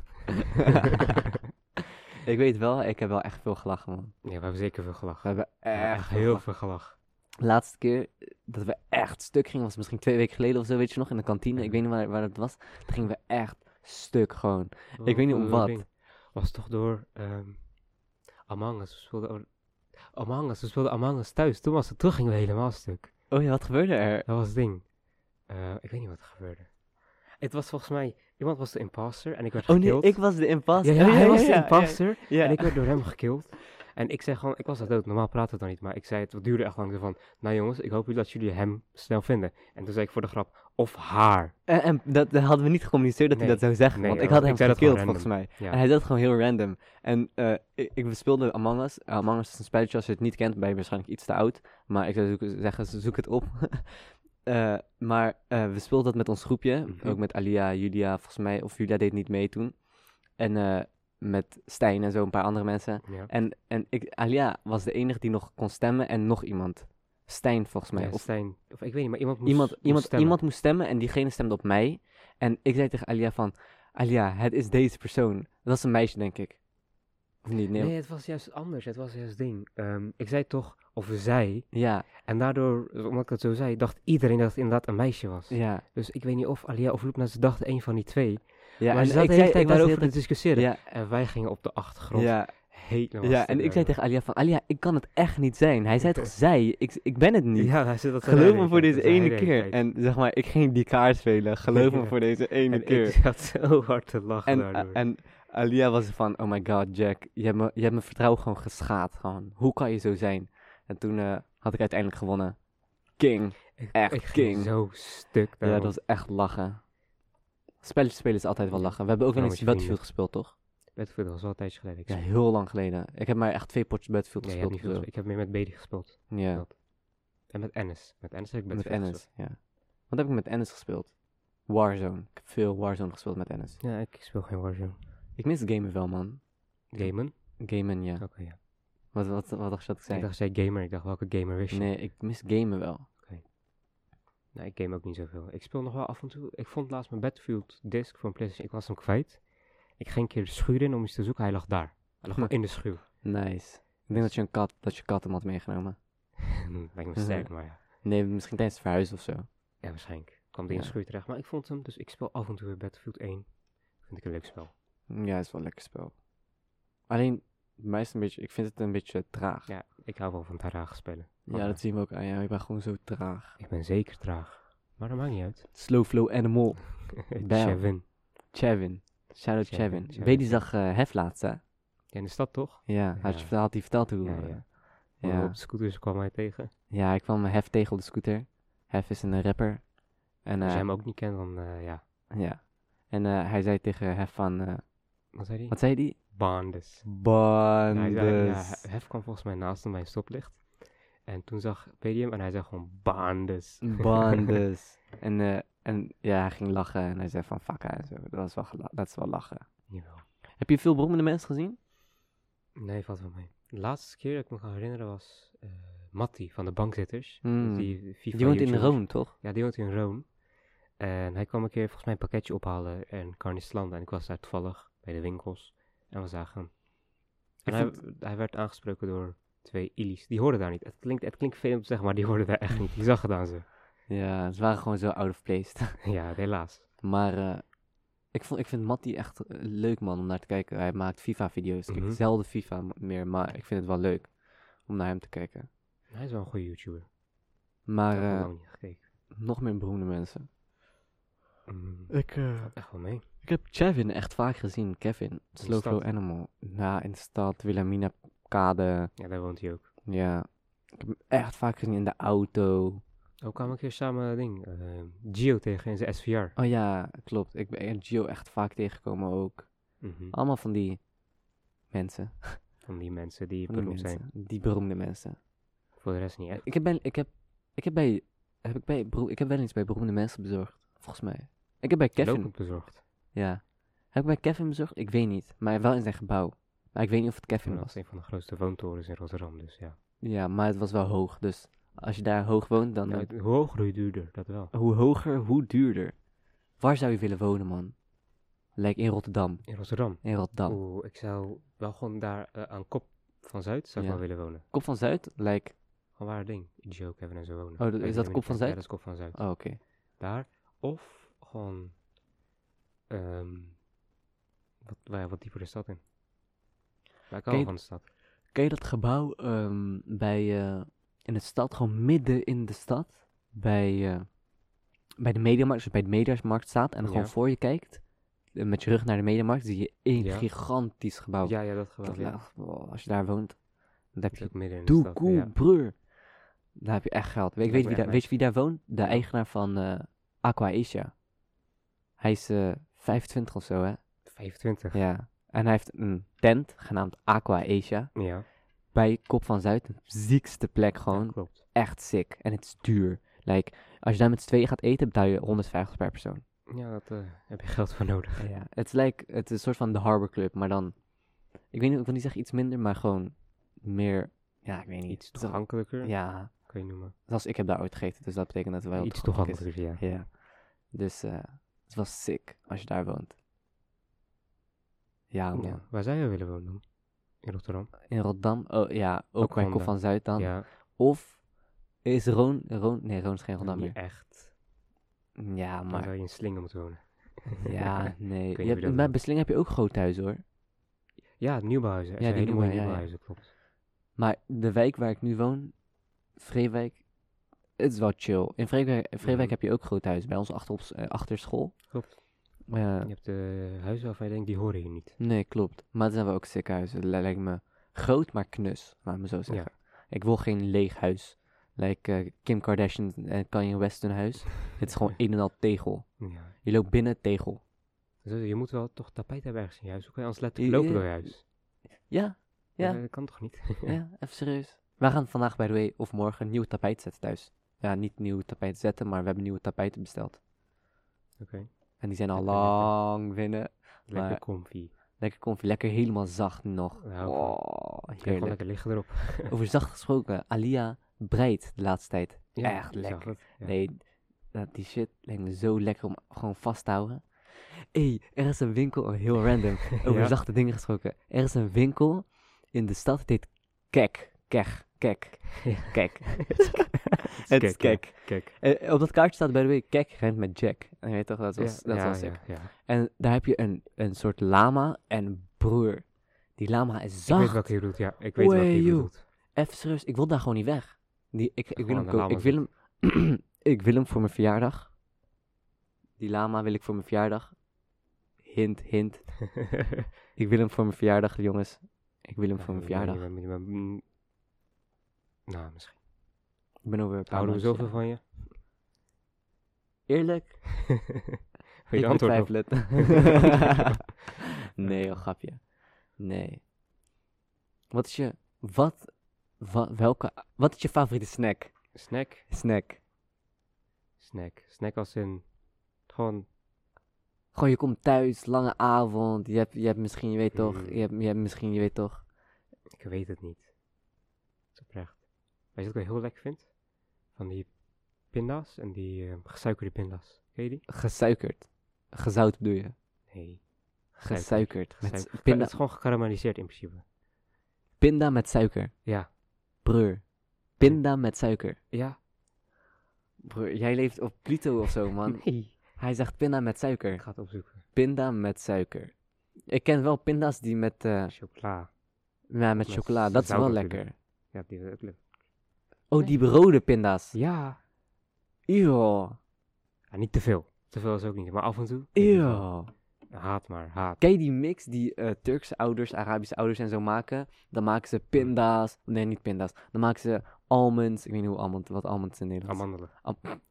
A: ik weet wel, ik heb wel echt veel gelachen, man.
B: ja, we hebben zeker veel
A: We
B: gelachen.
A: hebben
B: We hebben
A: echt,
B: echt
A: veel
B: heel
A: gelachen.
B: veel gelach.
A: Laatste keer dat we echt stuk gingen was misschien twee weken geleden of zo, weet je nog, in de kantine. Ik weet niet waar, waar het was. Toen gingen we echt stuk gewoon. Ik weet niet om wat.
B: Eh, Was toch door ehm Among Us. We speelden Among Us. We speelden Among Us thuis. Toen was het, toen gingen we helemaal stuk.
A: Oh ja, wat gebeurde er?
B: Dat was het ding. Eh, ik weet niet wat er gebeurde. Het was volgens mij, iemand was de imposter en ik werd
A: Oh nee,
B: gekild.
A: ik was de impasse. Oh
B: ja, ja, hij was de imposter
A: ja.
B: en ik werd door hem gekild. En ik zei gewoon, ik was al dood, normaal praten we dan niet, maar ik zei het, wat duurde echt lang, zo van, nou jongens, ik hoop dat jullie hem snel vinden. En toen zei ik voor de grap, of haar.
A: En, en dat, dat hadden we niet gecommuniceerd dat
B: Nee.
A: hij dat zou zeggen,
B: Nee,
A: want ik
B: ja,
A: had
B: ik
A: hem
B: zei dat gewoon
A: gekild volgens mij.
B: Ja.
A: En hij deed het gewoon heel random. En eh, ik, ik speelde Among Us. Eh, Among Us is een spelletje, als je het niet kent, ben je waarschijnlijk iets te oud. Maar ik zou zoeken- zeggen, zoek het op. Eh, maar eh, we speelden dat met ons groepje.
B: Mhm.
A: Ook met Alia, Julia, volgens mij. Of Julia deed niet mee toen. En eh, met Stijn en zo, een paar andere mensen.
B: Ja.
A: En, en ik, Alia was de enige die nog kon stemmen en nog iemand. Stijn volgens mij.
B: Ja,
A: of
B: Stijn, of ik weet niet, maar iemand moest,
A: iemand,
B: moest
A: iemand,
B: stemmen.
A: iemand moest stemmen en diegene stemde op mij. En ik zei tegen Alia van, Alia, het is deze persoon. Dat was een meisje, denk ik. Of niet? Nee.
B: Nee, het was juist anders. Het was juist ding. Ehm, ik zei toch, of zij.
A: Ja,
B: En daardoor, omdat ik dat zo zei, dacht iedereen dat het inderdaad een meisje was.
A: ja.
B: Dus ik weet niet of Alia of Loepna, ze dachten een van die twee.
A: ja
B: maar
A: en
B: ze zaten
A: ik
B: de hele
A: zei,
B: tijd
A: ik was de hele
B: daarover te
A: tijd-
B: discussiëren.
A: Ja,
B: En wij gingen op de achtergrond
A: ja,
B: helemaal
A: ja.
B: stuk
A: En ik zei
B: daarover.
A: tegen Alia van, Alia, ik kan het echt niet zijn. Hij zei toch zij, ik, ik ben het niet.
B: Ja, hij zit dat
A: Geloof me voor deze ene keer. En zeg maar, ik ging die kaart spelen. Geloof me
B: Ja.
A: voor deze ene
B: en
A: keer.
B: ik zat zo hard te lachen
A: En, eh,
B: daardoor.
A: en Alia was van, oh my god, Jack, je hebt, me, je hebt mijn vertrouwen gewoon geschaad. Gewoon. Hoe kan je zo zijn? En toen eh, had ik uiteindelijk gewonnen. King.
B: ik,
A: echt
B: ik ging
A: king.
B: zo stuk
A: Ja, dat was echt lachen. Spelletjes spelen is altijd wel lachen. We hebben ook
B: Ja,
A: wel
B: met
A: eens
B: je
A: Battlefield gespeeld, toch?
B: Battlefield was wel een tijdje geleden. Ik,
A: Ja,
B: speel-
A: heel lang geleden. Ik heb maar echt twee potjes Battlefield
B: Ja, je hebt
A: gespeeld.
B: niet
A: of zo.
B: veel gespeeld. ik heb meer met Bedi gespeeld.
A: Ja,
B: En met Ennis. Met Ennis heb ik
A: met
B: Battlefield gespeeld.
A: Ennis. Ja. Wat heb ik met Ennis gespeeld? Warzone. Ik heb veel Warzone gespeeld met Ennis.
B: Ja, ik speel geen Warzone.
A: Ik mis gamen wel, man.
B: Gamen?
A: Gamen, ja.
B: Oké, ja.
A: Wat, wat, wat dacht je dat ik
B: Ik
A: zei?
B: dacht, zij gamer. Ik dacht, welke gamer wist je? Nee.
A: Nee, ik mis gamen wel.
B: ik game ook niet zoveel. Ik speel nog wel af en toe. Ik vond laatst mijn Battlefield disc voor een PlayStation. Ik was hem kwijt. Ik ging een keer de schuur in om iets te zoeken. Hij lag daar. Hij lag gewoon in de schuur.
A: Nice. Ik
B: Dus
A: denk dat je, een kat, dat je kat hem had meegenomen.
B: Lijkt me sterk, maar ja.
A: Nee, misschien tijdens het verhuis of zo.
B: Ja, waarschijnlijk. Kwam die in de
A: Ja.
B: schuur terecht. Maar ik vond hem, dus ik speel af en toe weer Battlefield 1. Vind ik een leuk spel.
A: Ja, is wel een lekker spel. Alleen, bij mij is het een beetje, ik vind het een beetje traag. Ja,
B: Ja, ik hou wel van traag spelen. Maar
A: dat zien we ook aan jou. Ik ben gewoon zo traag.
B: Ik ben zeker traag. Maar dat maakt niet uit.
A: Slow Flow Animal. Damn.
B: Chevin.
A: Chevin. Shout-out
B: Chevin,
A: Chevin.
B: Chevin.
A: Weet die zag eh, Hef laatst, hè? Ja,
B: Ja, in de stad toch?
A: Had,
B: Ja.
A: je verteld, had hij verteld hoe...
B: Ja,
A: eh,
B: ja.
A: ja.
B: Op de scooters kwam hij tegen.
A: Ja, ik kwam Hef tegen op de scooter. Hef is een rapper. En,
B: Als
A: eh,
B: jij hem ook niet kent, dan eh, ja.
A: ja. en eh, hij zei tegen Hef van... eh,
B: Wat zei hij?
A: wat zei die?
B: Bandes. Ja, hij
A: Bandes.
B: zei- ja,
A: dus-
B: Hef- Hef kwam volgens mij naast hem bij een stoplicht. En toen zag Pedium en hij zei gewoon dus." Bandes.
A: Mm. Bandes. en, eh, en ja, hij ging lachen en hij zei van fakka en zo. Dat, was wel gela- dat is wel lachen.
B: Jawel.
A: Heb je veel beroemde mensen gezien?
B: Nee, valt wel mee. De laatste keer dat ik me kan herinneren was eh Matti van de bankzitters. Dus
A: Hmm.
B: Die, FIFA
A: Die woont in
B: YouTuber.
A: Rome, toch?
B: Ja, die woont in Rome. En hij kwam een keer volgens mij een pakketje ophalen in Carnisland. En ik was daar toevallig bij de winkels. En we zagen hem. En
A: Ik
B: hij, hij werd aangesproken door twee Ili's. Die hoorden daar niet. Het klinkt, het klinkt veel om te zeggen, maar die hoorden daar echt niet. Die zag het aan ze.
A: Ja, ze waren gewoon zo out of place.
B: ja, helaas.
A: maar eh, ik, vond, ik vind Matty echt een leuk man om naar te kijken. Hij maakt FIFA-video's. Ik
B: Mhm.
A: kijk zelden FIFA m- meer, maar ik vind het wel leuk om naar hem te kijken.
B: Hij is wel een goede YouTuber.
A: Maar
B: ik heb al
A: eh,
B: lang niet gekeken.
A: nog meer beroemde mensen.
B: Mm,
C: Ik, eh,
B: echt wel mee.
A: Ik heb Kevin echt vaak gezien. Kevin, Slow
B: stad.
A: Flow Animal. Ja, in de stad, Wilhelmina Kade.
B: Ja, daar woont hij ook.
A: Ja, ik heb hem echt vaak gezien in de auto.
B: Ook kwam een keer samen eh, ding. eh, Gio tegen in zijn SVR.
A: Oh ja, klopt. Ik ben Gio echt vaak tegengekomen ook.
B: Mhm.
A: Allemaal van die mensen.
B: Van die mensen die
A: Van die
B: beroemd zijn.
A: mensen, Die beroemde mensen.
B: Voor de rest niet Eh, echt.
A: Ik heb, bij, ik heb, ik heb, bij, heb ik, bij, bero- ik heb wel eens bij beroemde mensen bezorgd, volgens mij. Ik heb bij Kevin,
B: Kevin. bezorgd.
A: ja. Heb ik bij Kevin bezorgd? Ik weet niet, maar wel in zijn gebouw. Maar ik weet niet of het Kevin
B: Toen
A: was.
B: was een van de grootste woontorens in Rotterdam, dus ja.
A: Ja, maar het was wel hoog, dus als je daar hoog woont, dan...
B: ja
A: eh,
B: het- hoe hoger, hoe duurder, dat wel.
A: hoe hoger, hoe duurder. Waar zou je willen wonen, man? Lijkt in Rotterdam.
B: In Rotterdam.
A: In Rotterdam.
B: Oeh, ik zou wel gewoon daar eh, aan kop van Zuid zou
A: Ja.
B: ik wel willen wonen.
A: Kop van Zuid lijkt... Gewoon
B: Gewoon waar ding. Joe, Kevin en zo wonen.
A: Oh, dat-
B: Weet
A: is
B: je
A: dat
B: helemaal
A: Kop
B: niet.
A: van
B: Ja,
A: Zuid?
B: dat is Kop van Zuid.
A: Oh, oké.
B: Daar. Of gewoon... ehm wat, nou ja, wat dieper de stad in. Maar ik hou
A: je-
B: wel van de stad.
A: Ken je dat gebouw ehm, bij, eh, in de stad, gewoon midden in de stad? Bij, eh, bij de mediamarkt, dus bij de mediamarkt staat en dan gewoon
B: Ja.
A: voor je kijkt. eh, Met je rug naar de mediamarkt zie je één
B: Ja.
A: gigantisch gebouw.
B: Ja, ja, dat gebouw.
A: Oh. Dat
B: Ja.
A: laat- wow, als je daar woont, dan heb
B: Dat is
A: je
B: ook midden in de
A: doe
B: stad.
A: cool,
B: ja.
A: broer. Daar heb je echt geld. Weet,
B: Lijkt
A: weet,
B: me
A: wie,
B: echt
A: daar, weet je wie daar woont? De eigenaar van eh, Aqua Asia. Hij is eh 25 of zo, hè?
B: 25.
A: Ja. En hij heeft een tent genaamd Aqua Asia.
B: Ja,
A: bij Kop van Zuid. De ziekste plek gewoon.
B: dat klopt.
A: Echt sick. En het is duur. Like, als je daar met z'n tweeën gaat eten, betaal je 150 per persoon.
B: Ja, daar heb je geld voor nodig.
A: Ja. Het, is like, het is een soort van de Harbor Club, maar dan... Ik weet niet, ik wil niet zeggen iets minder, maar gewoon meer... Ja, ik weet niet.
B: Iets
A: Het is wel-
B: toegankelijker,
A: Ja,
B: kan je noemen.
A: zoals ik heb daar ooit gegeten, dus dat betekent dat het wel
B: Iets
A: toegankelijk is.
B: toegankelijker, ja.
A: Ja. Dus eh, het was sick als je daar woont. Ja, man.
B: Ja. Waar zou je willen wonen? dan? In Rotterdam?
A: In Rotterdam, oh, ja, ook bij Kop
B: Rotterdam.
A: van Zuid dan.
B: ja,
A: Of is Roon... Roon nee, Roon is geen Rotterdam meer.
B: niet echt.
A: Ja,
B: Dan
A: maar.
B: zou je in Slingen moeten wonen.
A: Ja, nee.
B: hoe
A: Je
B: dat
A: hebt, bij
B: noemt.
A: Besling heb je ook groot huis hoor.
B: ja, het Nieuwbouwhuizen. Er
A: Ja,
B: zijn
A: die
B: hele mooie
A: nieuwe, ja, ja.
B: Nieuwbouwhuizen, klopt.
A: Maar de wijk waar ik nu woon, Vreewijk, het is wel chill. In Vreewijk, in Vreewijk
B: Mhm.
A: heb je ook groot huis bij ons achter, op, s- eh, achter school.
B: Klopt.
A: Eh,
B: Je hebt de huizen waarvan je denkt, die horen hier niet.
A: nee, klopt. Maar het zijn wel ook sick huizen. Het lijkt me groot, maar knus, laat me zo zeggen. Ik wil geen leeg huis. Like eh, Kim Kardashian en Kanye West hun huis. het is gewoon een en al tegel.
B: Ja.
A: Je loopt binnen tegel.
B: Dus je moet wel toch tapijt hebben ergens in je huis. Hoe kan je
A: Ja,
B: anders letterlijk lopen
A: ja.
B: door je huis?
A: Ja, Ja.
B: Eh, Dat kan toch niet?
A: Ja, even serieus. Wij gaan vandaag, by the way, of morgen, nieuw tapijt zetten thuis. Ja, niet nieuw tapijt zetten, maar we hebben nieuwe tapijten besteld.
B: Oké.
A: En die zijn al
B: Lekker, lekker.
A: lang binnen.
B: Lekker
A: Maar-
B: comfy.
A: Lekker comfy, lekker helemaal zacht nog.
B: Daar hou ik van.
A: Oh,
B: Je kan gewoon
A: heerlijk.
B: lekker liggen erop.
A: Over zacht gesproken, Alia breidt de laatste tijd. Echt
B: ik zag
A: lekker.
B: het, ja.
A: Nee, dat, die shit lijkt me zo lekker om gewoon vast te houden. Hé, er is een winkel, oh, heel random, over
B: Ja.
A: zachte dingen gesproken. Er is een winkel in de stad, het heet Kek, Kek, Kek,
B: Ja.
A: Kek.
B: Het
A: Het
B: is
A: is
B: kek,
A: kek.
B: Kijk.
A: Eh, op dat kaartje staat bij de way kek rent met Jack. En je weet toch, dat was, dat was sick.
B: Ja.
A: En daar heb je een, een soort lama en broer. Die lama is
B: Ik weet
A: zacht.
B: welke je bedoelt, ja. Ik weet welke
A: Wee,
B: je
A: joh.
B: bedoelt.
A: Even serieus, ik wil daar gewoon niet weg. Die, ik, ik, wil
B: Gewoon
A: hem,
B: de
A: ko-
B: lama
A: ik, wil hem, ik wil hem voor mijn verjaardag. Die lama wil ik voor mijn verjaardag. Hint, hint. Ik wil hem voor mijn verjaardag, jongens. Ik wil hem voor mijn verjaardag.
B: Ja, maar- maar- maar- Nou, misschien.
A: Ik ben over een paar
B: Houden we
A: maandjes,
B: zoveel
A: ja.
B: van je?
A: Eerlijk?
B: Wil
A: ik
B: je antwoord nog?
A: betwijfel het. nee, joh, grapje. Nee. Wat is je... Wat... wa- welke... Wat is je favoriete snack?
B: Snack?
A: Snack.
B: Snack. Snack als in... Gewoon...
A: Gewoon, je komt thuis, lange avond. Je hebt, je hebt misschien, je weet toch...
B: Mm.
A: Je hebt, je hebt misschien, je weet toch...
B: Ik weet het niet. Het is oprecht. Weet je wat ik wel heel lekker vind? Van die pinda's en die eh, gesuikerde pinda's. Ken je die?
A: Gesuikerd. Gezout bedoel je?
B: Nee.
A: Gesuikerd. Met
B: Gesuik- ge- Het
A: pinda,
B: is gewoon gekarameliseerd in principe.
A: pinda met suiker.
B: Ja.
A: Breur. Pinda met suiker.
B: Ja.
A: Breur, jij leeft op Pluto of zo, man.
B: Nee.
A: Hij zegt pinda met suiker.
B: Ik ga het opzoeken.
A: Pinda met suiker. Ik ken wel pinda's die met, eh,
B: Chocola.
A: ja, met
B: Met
A: chocola. Dat is
B: zout
A: wel
B: natuurlijk.
A: lekker.
B: Ja, die wil ik ook leuk.
A: Oh, die rode pinda's.
B: Ja.
A: Eeuw.
B: Ja, niet te veel. Te veel is ook niet, maar af en toe.
A: Eeuw.
B: haat maar, haat.
A: Ken je die mix die eh, Turkse ouders, Arabische ouders en zo maken? Dan maken ze pinda's. Nee, niet pinda's. Dan maken ze almonds. Ik weet niet hoe almond, wat almonds in Nederland is.
B: Amandelen.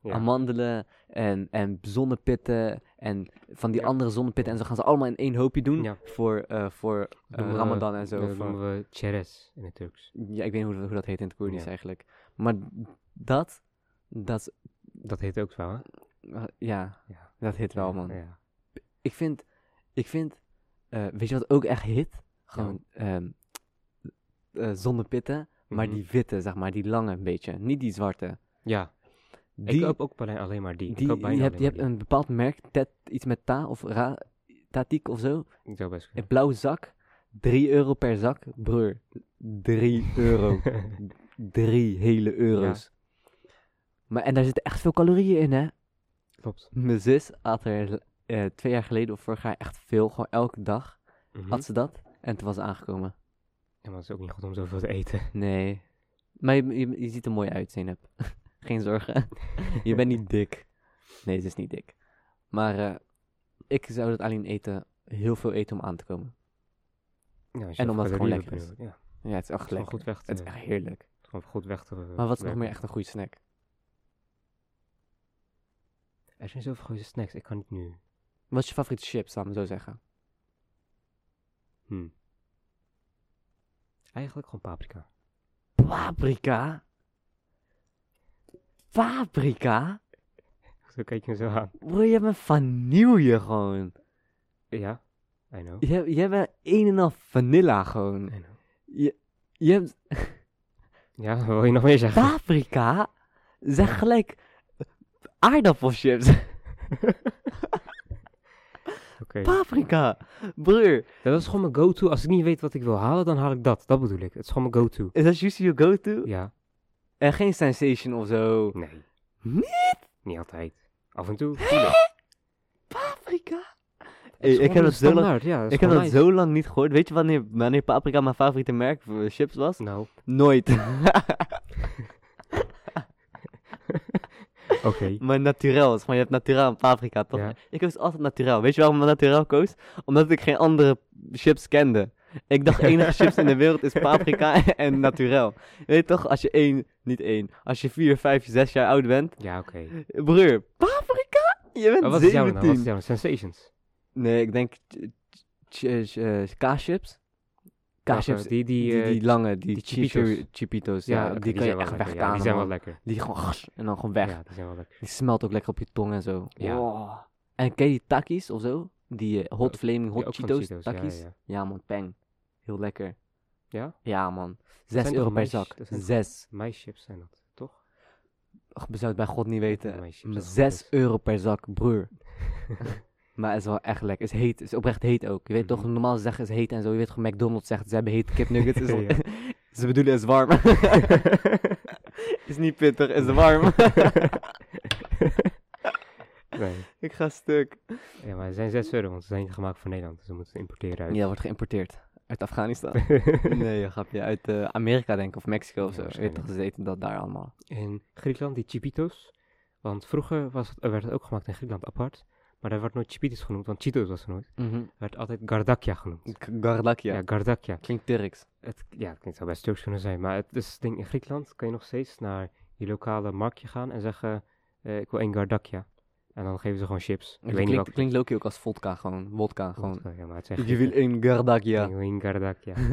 B: ja.
A: Amandelen en, en zonnepitten. En van die
B: Ja.
A: andere zonnepitten. En zo gaan ze allemaal in één hoopje doen.
B: Ja.
A: Voor, eh, voor eh,
B: Noemen we-
A: Ramadan en zo.
B: Dat
A: voor-
B: noemen we cheres in het Turks.
A: Ja, ik weet niet hoe, hoe dat heet in het Koerdisch
B: Ja.
A: eigenlijk. Maar dat, dat, is-
B: Dat heet ook zo, hè?
A: eh, ja,
B: Ja.
A: dat hit wel, Oh, man.
B: Ja.
A: Ik vind, ik vind, eh, weet je wat ook echt hit? Gewoon ehm eh, zonnepitten, maar
B: Mhm.
A: die witte, zeg maar, die lange een beetje. Niet die zwarte.
B: Ja,
A: Die,
B: ik koop ook bijna alleen maar die.
A: die,
B: ik koop bijna
A: je hebt, je
B: alleen
A: hebt een bepaald merk, tet, iets met ta of ra, tatiek of zo.
B: maar die. Zou best
A: Een
B: kunnen.
A: blauwe zak, 3 euro per zak. Broer, 3 euro. 3 hele euro's. Maar, en daar zitten echt veel calorieën in, hè?
B: Klopt.
A: Mijn zus had er eh, twee jaar geleden of vorig jaar echt veel, gewoon elke dag
B: Mhm.
A: had ze dat. En toen was ze aangekomen.
B: Ja, maar het is ook niet goed om zoveel te eten.
A: Nee. Maar je, je, je ziet er mooi uit, Zeynep. Geen zorgen. je bent niet dik. Nee, ze is niet dik. Maar eh, ik zou dat alleen eten, heel veel eten om aan te komen.
B: Ja, als je
A: En omdat het
B: even
A: gewoon
B: calorieën
A: lekker is.
B: benoemt, Ja,
A: Ja, het is
B: het
A: echt
B: is gewoon
A: lekker.
B: goed weg te...
A: Het is echt heerlijk.
B: gewoon goed weg te...
A: Maar wat is nog meer echt een goede snack?
B: Er zijn zoveel goede snacks, ik kan niet nu...
A: Wat is je favoriete chips, laat me zo zeggen?
B: Hm. Eigenlijk gewoon paprika.
A: Paprika? Paprika?
B: Zo kijk je me zo aan.
A: Bro, je bent vanille gewoon.
B: Ja, I know.
A: Je, je bent een en al vanilla gewoon.
B: I know.
A: Je hebt
B: Ja, wat wil je nog meer zeggen?
A: paprika. Zeg gelijk eh, aardappelchips.
B: Oké.
A: Paprika. Broer,
B: Dat is gewoon mijn go-to. Als ik niet weet wat ik wil halen, dan haal ik dat. Dat bedoel ik. Het is gewoon mijn go-to.
A: is dat juist je go-to?
B: Ja.
A: En geen sensation of zo.
B: Nee.
A: Niet
B: Niet altijd. Af en toe. tuurlijk.
A: paprika.
B: Het is
A: ik
B: gewoon
A: heb dat zo lang-
B: standaard, ja, is
A: Ik heb
B: gewoon
A: dat
B: nice.
A: zo lang niet gehoord. Weet je wanneer, wanneer paprika mijn favoriete merk voor chips was?
B: Nou,
A: Nooit.
B: oké.
A: maar naturel is. Maar je hebt naturel en paprika, toch?
B: Ja.
A: Ik koos altijd naturel. Weet je waarom ik naturel koos? Omdat ik geen andere chips kende. Ik dacht, enige chips in de wereld is paprika en naturel. Je Weet toch, als je één, niet één, als je vier, vijf, zes jaar oud bent.
B: Ja, oké.
A: Broer, paprika? Je bent
B: Maar wat is jouw nou? Wat
A: 17.
B: is jouw Sensations?
A: nee, ik denk ch- ch- ch- eh, kaaschips. Kaaschips,
B: Welke?
A: die,
B: Die, die,
A: die,
B: eh,
A: lange, die,
B: die
A: chicho-
B: Cheetos.
A: Cheepitos,
B: ja,
A: ja,
B: oké,
A: die, kan je
B: zijn wel
A: echt
B: lekker,
A: wegkamen.
B: Ja, die zijn wel
A: man.
B: lekker.
A: Die gewoon en dan gewoon weg.
B: Ja, die zijn wel lekker.
A: Die smelt ook lekker op je tong en zo.
B: Ja.
A: Wow. En ken je die takis of zo? Die eh, hot
B: ook-
A: flaming hot
B: Ja, ook van
A: Cheetos,
B: Cheetos, ja,
A: takis.
B: ja,
A: Ja,
B: ja.
A: man, peng. Heel lekker.
B: Ja?
A: Ja man.
B: zijn
A: Zes
B: toch
A: euro per
B: mais-
A: zak.
B: dat zijn toch-
A: Zes.
B: Maischips zijn dat, toch?
A: Ach, ik zou het bij God niet weten.
B: mais chips
A: Maar
B: zijn
A: Zes
B: goed.
A: euro per zak, broer. maar het is wel echt lekker. Het is heet. Het is oprecht heet ook. Je weet toch,
B: Mhm.
A: normaal zeggen ze heet en zo. Je weet gewoon, McDonald's zegt ze hebben heet kipnuggets. Is wel-
B: Ja.
A: ze bedoelen het is warm. is niet pittig, is warm.
B: Nee.
A: ik ga stuk.
B: Ja, maar ze zijn 6 euro, want ze zijn niet gemaakt voor Nederland. Dus we moeten ze importeren uit.
A: Ja, wordt geïmporteerd. Uit Afghanistan. Nee, een grapje. Uit eh, Amerika denk ik, of Mexico of
B: Ja,
A: zo. Je weet
B: waarschijnlijk.
A: toch, ze eten dat daar allemaal.
B: In Griekenland, die Chipitos. Want vroeger was het, werd het ook gemaakt in Griekenland apart. Maar daar werd nooit Chipitos genoemd, want Cheetos was er nooit. Er werd altijd Gardakia genoemd.
A: K- Gardakia.
B: Mhm. Ja, Gardakia.
A: Klinkt Turks.
B: Het, ja, het klinkt wel best Turks kunnen zijn, maar het is het ding in Griekenland kan je nog steeds naar je lokale marktje gaan en zeggen, eh, ik wil één Gardakia. En dan geven ze gewoon chips. Ik
A: Het
B: weet niet
A: klinkt,
B: welke
A: klinkt Loki ook als vodka, gewoon. Wodka,
B: Goed,
A: gewoon.
B: oké, ja, maar het zijn
A: Je wil
B: Grieken.
A: een Gardakia.
B: Ik wil één Gardakia.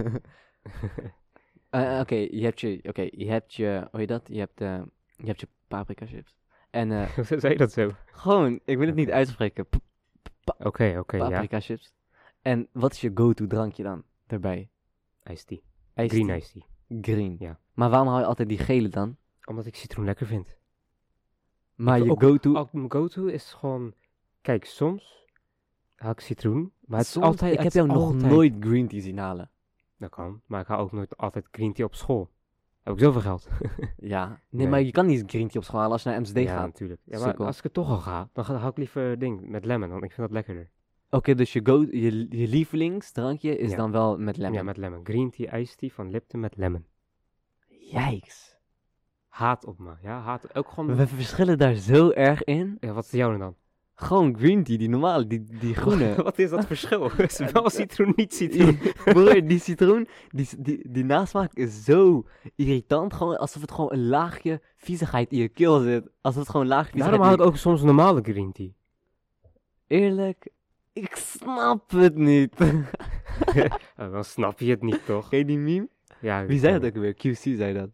A: Eh, eh, Oké, je hebt je, oké, je hebt je, hoe heet dat? Je hebt, eh, je hebt je paprika chips. En eh,
B: Hoe zei je dat zo? Oké,
A: gewoon, ik wil het niet uitspreken, p-
B: oké, ja.
A: paprika chips. En wat is je go-to drankje dan daarbij?
B: Iced tea.
A: Iced
B: Green
A: tea.
B: iced tea.
A: Green.
B: Ja.
A: Maar waarom hou je altijd die gele dan?
B: Omdat ik citroen lekker vind.
A: Maar
B: wil
A: je
B: ook-
A: go-to...
B: Al- Mijn go-to is gewoon... Kijk, soms haal ik citroen. Maar het is
A: Soms-
B: altijd...
A: ik
B: het
A: heb jou
B: is
A: nog
B: altijd-
A: nooit green tea zien halen.
B: Dat kan. Maar ik haal ook nooit altijd green tea op school. Heb ik zoveel geld.
A: Ja. Nee,
B: Nee.
A: maar je kan niet green tea op school halen als je naar MSD
B: ja,
A: gaat.
B: natuurlijk. Ja, maar
A: Sukkel.
B: als ik er toch al ga, dan ga- haal ik liever ding met lemon. Want ik vind dat lekkerder.
A: Oké, dus je, go je, je lievelingsdrankje is
B: Ja.
A: dan wel met lemon.
B: Ja, met lemon. Green tea, iced tea van Lipton met lemon.
A: Jijks.
B: Haat op me. Ja, haat. Ook gewoon...
A: We verschillen daar zo erg in.
B: Ja, wat is jouw dan?
A: Gewoon green tea, die normale, die, die groene.
B: Wat is dat verschil? Is het wel citroen, niet citroen.
A: Broer, die citroen, die, die, die nasmaak is zo irritant. Gewoon alsof het gewoon een laagje viezigheid in je keel zit. Alsof het gewoon een laagje viezigheid
B: Daarom hou ik ook soms normale green tea.
A: Eerlijk, ik snap het niet.
B: Eh, dan snap je het niet, toch?
A: Ken je die meme?
B: Ja,
A: Wie zei dat ook weer? QC zei dat.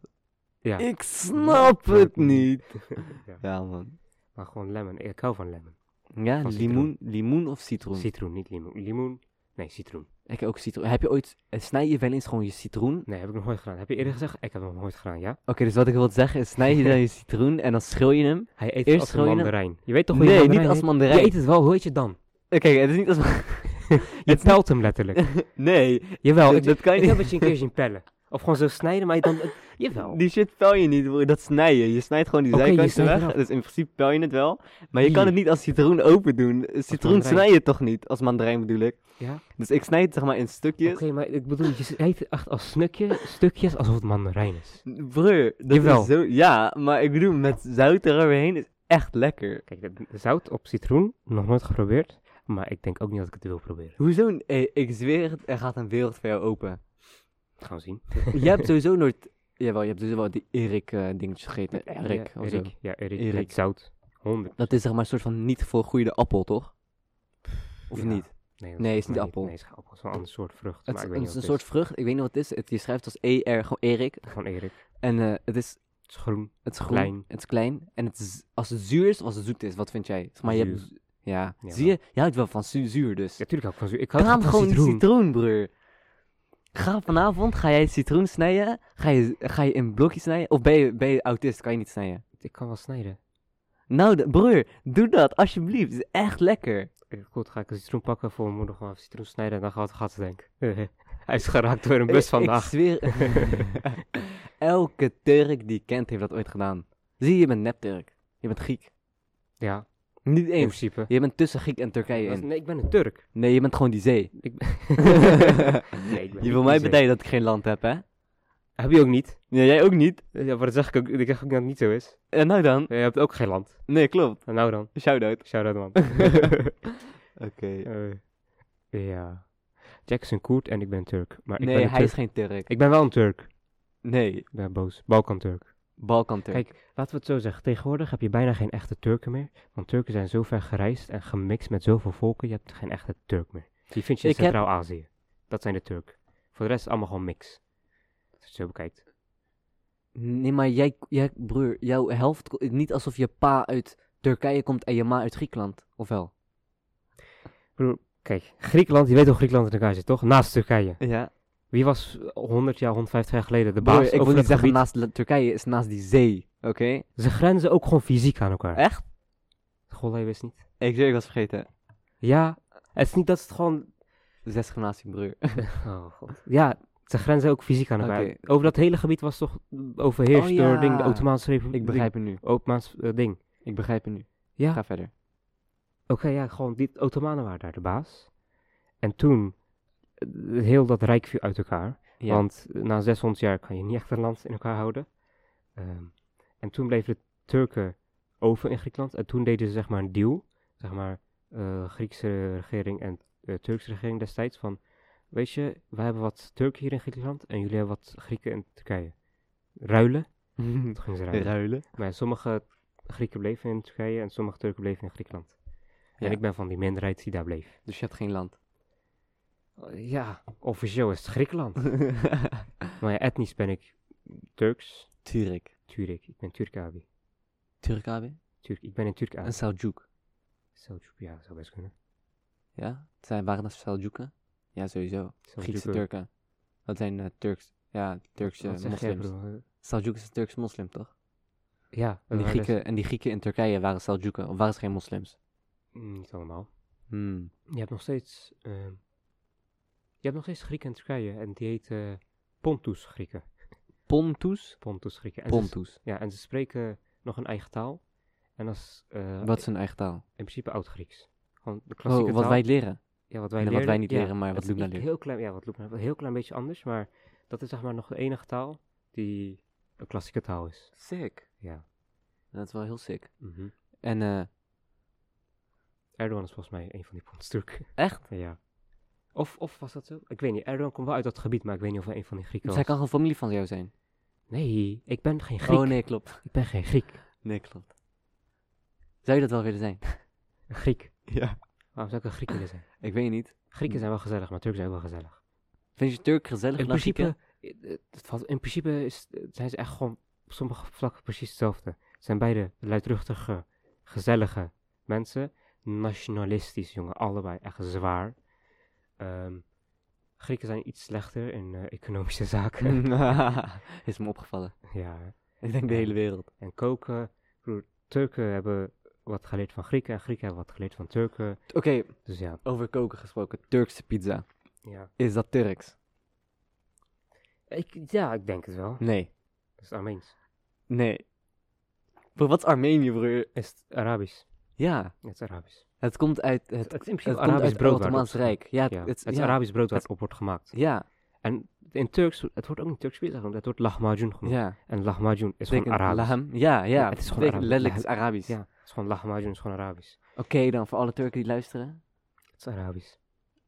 B: Ja.
A: Ik snap het niet.
B: Ja.
A: Ja, man.
B: Maar gewoon lemon. Ik hou van lemon.
A: Ja,
B: Van
A: limoen, limoen of citroen?
B: Citroen, niet limoen. Limoen? Nee, citroen.
A: ik heb ook citroen. Heb je ooit, eh, snij je wel eens gewoon je citroen?
B: Nee, heb ik nog nooit gedaan. Heb je eerder gezegd? Ik heb het nog nooit gedaan, ja?
A: Oké, dus wat ik wil zeggen is, snij je dan je citroen en dan schil je hem.
B: Hij eet
A: Eerst
B: het als een
A: gewoon een-
B: mandarijn. Je weet toch hoe je
A: Nee, niet
B: mandarijn
A: als
B: eet?
A: mandarijn.
B: Je eet het wel, hoe eet je het dan?
A: Oké, het is niet als
B: Je pelt hem letterlijk.
A: Nee,
B: Jawel,
A: dat-
B: ik,
A: dat kan je
B: ik heb het je een keer zien pellen. Of gewoon zo snijden, maar je dan... Jawel.
A: die shit pel je niet, broer. Dat snij je. Je snijdt gewoon die
B: Oké, je
A: zijkanten
B: snijdt
A: weg.
B: het af.
A: Dus in principe pel je het wel. Maar je kan
B: Hier.
A: het niet als citroen open doen. Eh, Citroen
B: mandarijn.
A: snij je toch niet, als mandarijn bedoel ik.
B: Ja?
A: Dus ik snijd het zeg maar in
B: Oké,
A: stukjes.
B: maar ik bedoel, je eet het echt als snukje, stukjes alsof het mandarijn is.
A: Broer, dat
B: Jawel.
A: is zo... Ja, maar ik bedoel, met zout eroverheen is echt lekker.
B: Kijk, dat- zout op citroen, nog nooit geprobeerd. Maar ik denk ook niet dat ik het wil proberen.
A: Hoezo? Eh, ik zweer het, er gaat een wereld voor jou open.
B: Gaan we zien.
A: je hebt sowieso nooit... Jawel, je hebt sowieso wel die Erik eh dingetjes gegeten. Erik,
B: ja,
A: of zo.
B: Erik. Ja, Erik.
A: Erik.
B: Met zout. 100.
A: Dat is zeg maar een soort van niet volgroeide appel, toch? Of niet?
B: Ja, Nee,
A: Nee,
B: volgens
A: is niet
B: mij
A: appel.
B: Nee, is geen appel. Het is wel een ander soort vrucht.
A: Het
B: maar
A: is
B: ik weet
A: een,
B: niet
A: een
B: wat het
A: soort vrucht, ik weet niet wat het is. Het, je schrijft als ER, gewoon Erik.
B: is. Van Erik.
A: En eh, het, is,
B: Het is groen.
A: het is groen,
B: Klein.
A: het is klein. En het is, als het zuur is, of als het zoet is, wat vind jij? Zeg maar, je hebt,
B: Zuur.
A: ja,
B: Ja,
A: zie je? Je houdt wel van zu- zuur dus.
B: Natuurlijk hou ik van zuur. Ik hou
A: Kraam
B: van
A: gewoon citroen.
B: citroen.
A: citroenbreur. Ga vanavond, ga jij citroen snijden? Ga je, ga je in blokjes snijden? Of ben je, ben je autist, kan je niet snijden?
B: Ik kan wel snijden.
A: Nou, de- broer, doe dat, alsjeblieft. Het is echt lekker.
B: Eh, Goed, ga ik een citroen pakken voor mijn moeder. Gewoon even citroen snijden en dan gaat het gat denken. Hij is geraakt door een bus
A: Ik-
B: vandaag.
A: Ik zweer. Elke Turk die ik kent heeft dat ooit gedaan. Zie je, je bent nep Turk. Je bent Griek.
B: Ja,
A: Niet
B: in
A: eens.
B: principe.
A: Je bent tussen Griek en Turkije
B: Dat is-
A: in.
B: Nee, ik ben een Turk.
A: Nee, je bent gewoon die zee.
B: Ik Nee, ik ben
A: je wil
B: niet
A: mij
B: die zee.
A: bedenken dat ik geen land heb, hè?
B: Heb je ook niet?
A: Ja, jij ook niet.
B: Ja, maar dat zeg ik ook. Ik zeg ook dat het niet zo is.
A: En nou dan?
B: Je hebt ook geen land.
A: Nee, klopt.
B: Nou dan.
A: Shout-out.
B: Shout-out man.
C: Oké.
B: Eh, ja. Jack is een Koerd en ik ben een Turk. Maar ik ben
A: Nee,
B: een
A: hij is
B: Turk-
A: geen Turk.
B: Ik ben wel een Turk.
A: Nee,
B: Ik ben boos. Balkan-Turk.
A: Balkan-Turk.
B: Kijk, laten we het zo zeggen. Tegenwoordig heb je bijna geen echte Turken meer. Want Turken zijn zo ver gereisd en gemixt met zoveel volken. Je hebt geen echte Turk meer. Die vind je in
A: Ik heb-
B: Centraal-Azië. Dat zijn de Turk. Voor de rest is het allemaal gewoon mix. Als je het zo bekijkt.
A: Nee, maar jij, jij, broer, jouw helft... ko- Niet alsof je pa uit Turkije komt en je ma uit Griekenland. Of wel?
B: Kijk, Griekenland, je weet hoe Griekenland in elkaar zit, toch? Naast Turkije.
A: Ja.
B: Wie was eh, 100 jaar, 150 jaar geleden de baas
A: Broer, ik
B: over
A: wil niet
B: het
A: zeggen
B: gebied?
A: naast La- Turkije is naast die zee. Oké?
B: Ze grenzen ook gewoon fysiek aan elkaar.
A: Echt?
B: Goh, je wist niet.
A: Ik zeg, ik was vergeten.
B: Ja, het is niet dat ze het gewoon
A: Zes gymnasium, broer.
B: Oh god. Ja, ze grenzen ook fysiek aan elkaar.
A: Oké.
B: Over dat hele gebied was toch overheerst
A: Oh,
B: door
A: ja.
B: ding, de Ottomaanse Republiek.
A: Ik begrijp het nu.
B: Ottomaans eh, ding.
A: Ik begrijp het nu.
B: Ja,
A: Ga verder.
B: oké, ja, gewoon die Ottomanen waren daar de baas. En toen, eh, heel dat rijk viel uit elkaar.
A: Ja.
B: Want eh, na 600 jaar kan je niet echt een land in elkaar houden. Ehm, en toen bleven de Turken over in Griekenland. En toen deden ze zeg maar een deal. Zeg maar eh, Griekse regering en eh, Turkse regering destijds. Van, weet je, wij hebben wat Turken hier in Griekenland. En jullie hebben wat Grieken in Turkije. Ruilen. Toen gingen ze ruilen.
C: Ruilen.
B: Maar ja, sommige Grieken bleven in Turkije en sommige Turken bleven in Griekenland.
A: Ja.
B: En ik ben van die minderheid die daar bleef.
A: Dus je hebt geen land.
B: Ja, officieel is het Griekenland. maar ja, etnisch ben ik Turks.
A: Turk.
B: Turk, ik ben Turkabi.
A: Turk AB?
B: Turk, ik ben een Turkabi.
A: En Seljuk.
B: Seljuk, ja, zou best kunnen.
A: Ja? Het zijn, waren dat Seljuken? Ja, sowieso.
B: Seljuk,
A: Griekse
B: eh,
A: Turken. Dat zijn eh, Turks. Ja, Turkse
B: wat zeg jij,
A: moslims.
B: broer?
A: Seljuk is een Turks moslim, toch?
B: Ja,
A: En die,
B: eh, dat is-
A: Grieken, en die Grieken in Turkije waren Seljuken. Of waren ze geen moslims?
B: Mm, Niet allemaal.
A: Hmm.
B: Je hebt nog steeds... ehm, je hebt nog steeds Grieken in Turkije en die heet eh, Pontus Grieken.
A: Pontus?
B: Pontus Grieken. En ze-
A: Pontus.
B: ja, en ze spreken nog een eigen taal. En dat is eh,
A: Wat is hun eigen taal?
B: in principe oud-Grieks. Gewoon de
A: Oh,
B: klassieke
A: wat
B: taal.
A: wij leren.
B: ja, wat
A: Nee,
B: nou? wij,
A: wat wij niet
B: ja,
A: leren, maar
B: Het
A: wat
B: is
A: Lubna
B: een
A: leert.
B: Heel klein, ja, wat Lubna, een heel klein beetje anders, maar dat is zeg maar nog de enige taal die een klassieke taal is. Mhm.
A: Sick.
B: Ja.
A: Dat is wel heel sick.
B: Mhm.
A: En eh
B: Erdogan is volgens mij een van die Pondsturken.
A: Echt?
B: ja. Of, of was dat zo? Ik weet niet. Erdogan komt wel uit dat gebied, maar ik weet niet of hij een van die Grieken
A: Dus
B: was.
A: hij kan gewoon familie van jou zijn.
B: Nee, ik ben geen Griek.
A: Oh nee, klopt.
B: Ik ben geen Griek.
C: Nee, klopt.
A: Zou je dat wel willen zijn?
B: Een Griek.
C: Ja.
B: Waarom zou ik een Griek willen zijn?
A: Ik weet niet.
B: Grieken zijn wel gezellig, maar Turken zijn ook wel gezellig.
A: Vind je Turk gezellig?
B: In
A: dan
B: principe,
A: Grieken?
B: eh, eh, het valt- in principe is, eh, zijn ze echt gewoon op sommige vlakken precies hetzelfde. Het zijn beide luidruchtige, gezellige mensen. Nationalistisch, jongen, allebei echt zwaar. Ehm, Grieken zijn iets slechter in eh, economische
A: Hmm.
B: zaken.
A: is me opgevallen.
B: ja, hè.
A: Ik denk de hele wereld.
B: en koken. Ik bedoel, Turken hebben wat geleerd van Grieken en Grieken hebben wat geleerd van Turken.
A: Oké,
B: Dus ja,
A: over koken gesproken. Turkse pizza.
B: ja.
A: Is dat Turks?
B: Ik, ja, ik denk het wel.
A: Nee.
B: Dat is Armeens.
A: Nee. Bro, wat is Armenië, broer?
B: Is het Arabisch?
A: Ja,
B: Het is Arabisch.
A: het komt uit het,
B: Het is in
A: het
B: principe
A: komt
B: Arabisch
A: uit het
B: brood waar het op
A: Ottomaans
B: staat.
A: Rijk. Ja, het,
B: Ja,
A: het,
B: het is
A: ja,
B: Arabisch brood waar het op wordt gemaakt.
A: Ja,
B: En in Turks, het wordt ook niet Turks pizza genoemd, het wordt lahmacun genoemd.
A: ja.
B: En lahmacun Hm. is gewoon
A: Betekent
B: Arabisch.
A: laham. Ja, ja.
B: Ja, het is gewoon
A: betekent
B: Arabisch.
A: Letterlijk, het is Arabisch.
B: Ja, het is gewoon lahmacun is gewoon Arabisch.
A: Oké, dan voor alle Turken die luisteren.
B: Het is Arabisch.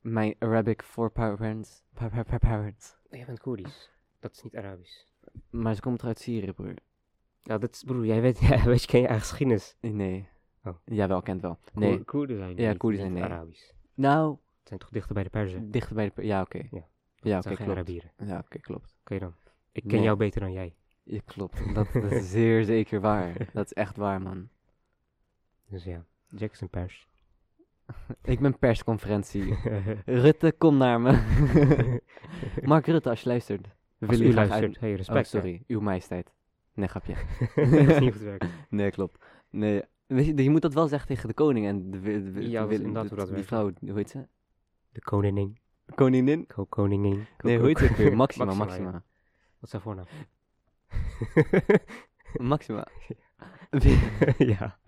A: Mijn Arabic for parents. pa- pa- pa- parents.
B: Maar jij bent Koerdisch. Dat is niet Arabisch.
A: Maar ze komt toch uit Syrië, broer?
B: Ja, dat is, broer, jij weet, jij weet je, ken je eigen geschiedenis.
A: Nee.
B: Oh.
A: Jawel, kent wel. Nee.
B: Koer- Koerden zijn
A: Ja,
B: niet,
A: Koerden
B: niet
A: zijn nee.
B: Arabisch.
A: Nou,
B: Het zijn toch dichter bij de Perzen? Het
A: dichter bij de... Ja, oké.
B: Ja.
A: Ja,
B: zijn
A: oké,
B: geen
A: klopt.
B: Arabieren.
A: Ja, oké, klopt.
B: Oké dan. Ik ken
A: Nee.
B: jou beter dan jij.
A: Ja, klopt. Dat, dat is zeer zeker waar. Dat is echt waar, man.
B: Dus ja, Jack is een Pers.
A: Ik ben persconferentie. Rutte, kom naar me. Mark Rutte, als je luistert. We willen
B: Als
A: je
B: u
A: graag
B: luistert,
A: uit-
B: hey,
A: Oh,
B: respect. hè.
A: sorry. Uw majesteit. Nee, grapje.
B: dat is niet goed werkt.
A: Nee, klopt. Nee. Weet je, je moet dat wel zeggen tegen de koning en de, wi- de, wi-
B: Ja,
A: de
B: dat is
A: wi-
B: inderdaad
A: de-
B: hoe dat
A: die
B: werkt.
A: vrouw, hoe heet ze?
B: De koningin.
A: Koningin?
B: Ko koningin. Ko-
A: Nee,
B: ko-
A: hoe heet ze ook weer? Maxima,
B: Maxima,
A: Maxima.
B: Wat is haar voornaam?
A: Maxima. Wi-
B: ja.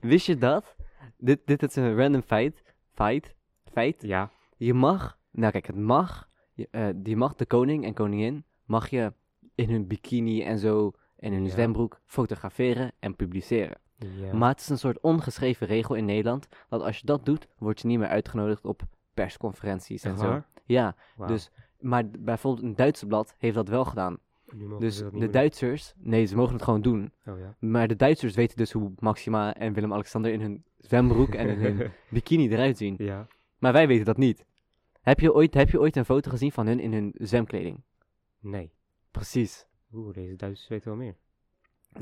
A: Wist je dat? Dit, dit is een random feit. Feit. Feit.
B: Ja.
A: Je mag, nou kijk, het mag, je, eh, die mag de koning en koningin, mag je in hun bikini en zo, en hun
B: Ja.
A: zwembroek, fotograferen en publiceren.
B: ja.
A: Maar het is een soort ongeschreven regel in Nederland, dat als je dat doet, word je niet meer uitgenodigd op persconferenties en
B: Echt
A: zo.
B: waar?
A: Ja,
B: Wauw.
A: dus, maar d- bijvoorbeeld een Duitse blad heeft dat wel gedaan.
B: Nu mogen
A: Dus
B: ze dat niet
A: de
B: meer
A: Duitsers, nee, ze mogen het gewoon doen.
B: doen. Oh, ja.
A: Maar de Duitsers weten dus hoe Maxima en Willem-Alexander in hun zwembroek en in hun bikini eruit zien.
B: ja.
A: Maar wij weten dat niet. Heb je ooit, heb je ooit een foto gezien van hun in hun zwemkleding?
B: Nee.
A: Precies.
B: Oeh, deze Duitsers weten wel meer.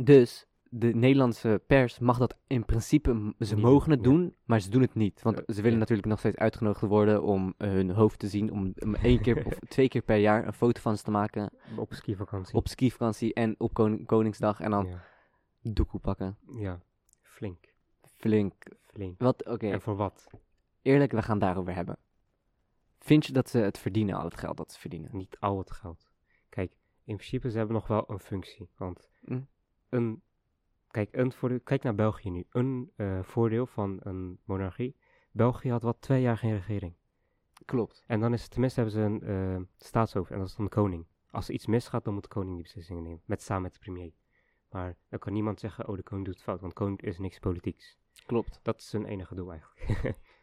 A: Dus de Nederlandse pers mag dat in principe, m- ze
B: Niet
A: mogen het
B: doen,
A: doen, maar ze doen het niet. Want
B: Eh,
A: ze willen
B: ja.
A: natuurlijk nog steeds uitgenodigd worden om eh, hun hoofd te zien, om, om één keer of twee keer per jaar een foto van ze te maken
B: Op skivakantie.
A: op skivakantie en op koning- Koningsdag en dan
B: Ja.
A: doekoe pakken.
B: ja. Flink.
A: Flink.
B: Flink.
A: Wat, oké,
B: En voor wat?
A: eerlijk, we gaan het daarover hebben. Vind je dat ze het verdienen, al het geld dat ze verdienen?
B: Niet al het geld. Kijk, in principe ze hebben nog wel een functie. Want
A: Hm.
B: een... Kijk, een voordeel, kijk naar België nu. Een eh, voordeel van een monarchie. België had wat twee jaar geen regering.
A: Klopt.
B: En dan is het, tenminste hebben ze een eh, staatshoofd en dat is dan de koning. Als er iets misgaat, dan moet de koning die beslissingen nemen. Met, samen met de premier. Maar dan kan niemand zeggen, oh de koning doet het fout, want koning is niks politieks.
A: Klopt.
B: Dat is hun enige doel eigenlijk.
A: Ja.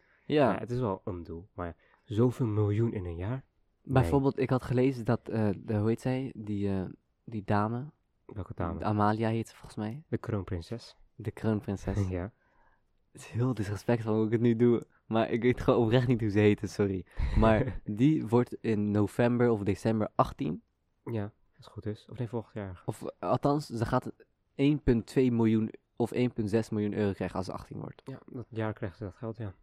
B: Ja, het is wel een doel, maar ja, zoveel miljoen in een jaar?
A: Bijvoorbeeld, ik had gelezen dat, eh, de, hoe heet zij? Die, eh, die dame,
B: Welke dame?
A: Amalia heet ze volgens mij,
B: de kroonprinses.
A: de kroonprinses. Het
B: Ja.
A: is heel disrespectvol hoe ik het nu doe, maar ik weet gewoon oprecht niet hoe ze heette, sorry. Maar die wordt in november of december 18,
B: ja, als het goed is. Of nee, volgend jaar.
A: of eh, althans, ze gaat 1,2 miljoen of 1,6 miljoen euro krijgen als ze 18 wordt.
B: Ja, dat jaar krijgt ze dat geld, ja.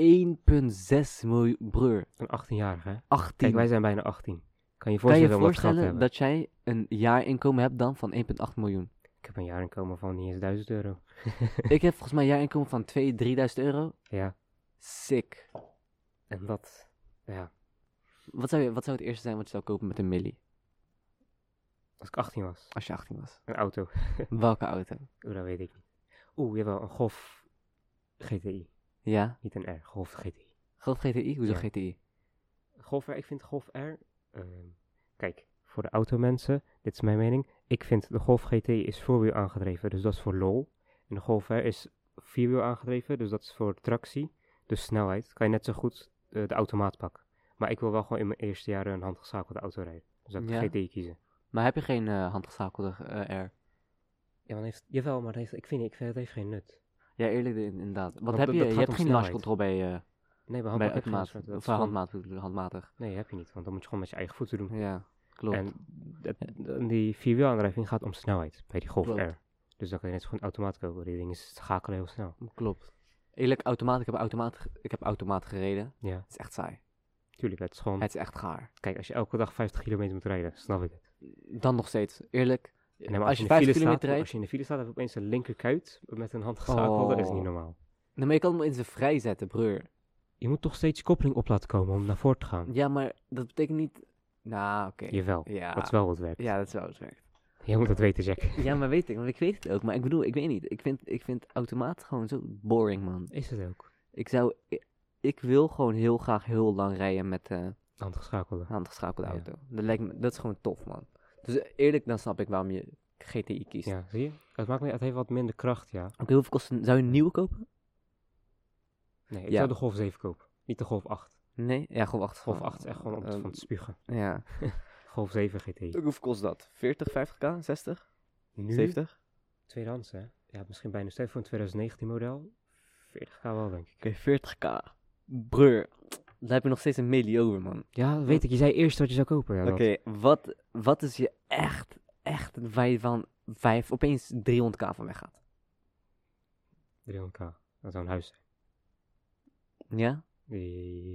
A: 1,6 miljoen, broer,
B: Een 18-jarige, hè?
A: 18.
B: Kijk, wij zijn bijna 18. Kan je
A: kan je
B: voorstellen om dat geld te
A: voorstellen
B: hebben?
A: dat jij een jaarinkomen hebt dan van 1,8 miljoen?
B: Ik heb een jaarinkomen van niet eens 1000 euro.
A: ik heb volgens mij een jaarinkomen van 2.000, 3.000 euro.
B: Ja,
A: Sick.
B: en dat... Ja,
A: Wat zou, je, wat zou het eerste zijn wat je zou kopen met een milli?
B: als ik 18 was.
A: Als je 18 was.
B: Een auto.
A: Welke auto?
B: Oeh, dat weet ik niet. Oeh, jawel, een Golf GTI.
A: Ja?
B: Niet een R, Golf GTI.
A: Golf GTI? Hoezo
B: Ja.
A: GTI?
B: Golf R, ik vind Golf R... ehm, kijk, voor de automensen, dit is mijn mening. Ik vind de Golf GTI is voorwiel aangedreven, dus dat is voor lol. En de Golf R is vierwiel aangedreven, dus dat is voor tractie. Dus snelheid. Kan je net zo goed eh, de automaat pakken. Maar ik wil wel gewoon in mijn eerste jaren een handgeschakelde auto rijden. Dus dat ik
A: Ja.
B: de GTI kiezen.
A: Maar heb je geen eh, handgeschakelde eh, R?
B: Ja, maar heeft, jawel, maar heeft, ik, vind, ik vind het heeft geen nut.
A: Ja, eerlijk in- inderdaad. Wat
B: Want
A: heb
B: dat-
A: je?
B: dat
A: Je
B: gaat
A: hebt
B: om
A: geen
B: snelheid.
A: larscontrole bij, eh
B: Nee,
A: bij
B: bij handmaat heb je geen
A: automaat.
B: soort- dat
A: Of
B: is gewoon-
A: handmaat, bedoel ik, handmatig.
B: Nee, heb je niet, want dan moet je gewoon met je eigen voeten doen.
A: Ja, klopt. Eh,
B: En dat- en die vierwielaandrijving gaat om snelheid bij die Golf
A: Klopt.
B: R. Dus dan kan je net zo goed automaat kopen. Die dingen schakelen heel snel.
A: Klopt. Eerlijk, automaat. Ik heb automaat, ge- ik heb automaat gereden.
B: Ja,
A: Het is echt saai.
B: tuurlijk. Het is gewoon...
A: Het is echt gaar.
B: Kijk, als je elke dag 50 kilometer moet rijden, snap ik het.
A: Dan nog steeds. Eerlijk,
B: En dan
A: als, je 5 kilometer
B: staat,
A: rijdt...
B: als je in de file staat, heb je opeens een linkerkuit met een handgeschakelde. Dat is
A: Oh.
B: niet normaal.
A: Nee, maar je kan hem in zijn vrij zetten, broer.
B: Je moet toch steeds je koppeling op laten komen om naar voren te gaan.
A: Ja, maar dat betekent niet... Nou, oké.
B: Jawel,
A: Ja.
B: dat is wel wat werkt.
A: ja, dat is wel hoe het werkt.
B: Je moet dat weten, Jack.
A: Ja, maar weet ik. Want ik weet het ook. Maar ik bedoel, ik weet niet. Ik vind, ik vind automaat gewoon zo boring, man.
B: Is het ook.
A: Ik zou... Ik, ik wil gewoon heel graag heel lang rijden met eh
B: Handgeschakelde.
A: handgeschakelde
B: Ja.
A: auto. Dat, lijkt me, dat is gewoon tof, man. Dus eh, eerlijk, dan snap ik waarom je GTI kiest.
B: Ja, zie je? Het, maakt niet, het heeft wat minder kracht, ja.
A: Oké, hoeveel kost een... Zou je een nieuwe kopen?
B: Nee, ik
A: Ja.
B: zou de Golf 7 kopen. Niet de Golf 8.
A: Nee? Ja, Golf 8.
B: Golf 8 is echt gewoon om te-
A: eh,
B: van te spugen.
A: Ja.
B: Golf 7
A: eh,
B: GTI.
C: Hoeveel kost dat? 40, 50k, 60,
B: Nu?
C: 70? Oké,
B: Tweedehands, hè? Ja, misschien bijna. Stel je voor een 2019 model. 40k wel, denk ik.
A: 40k. Breur. Daar heb je nog steeds een melee over, man.
B: Ja, dat weet ik. Je zei eerst wat je zou kopen. Ja,
A: Oké,
B: dat-
A: wat, wat is je echt, echt waar je van 5 opeens 300k van weggaat?
B: 300k. Dat zou een huis zijn.
A: Ja?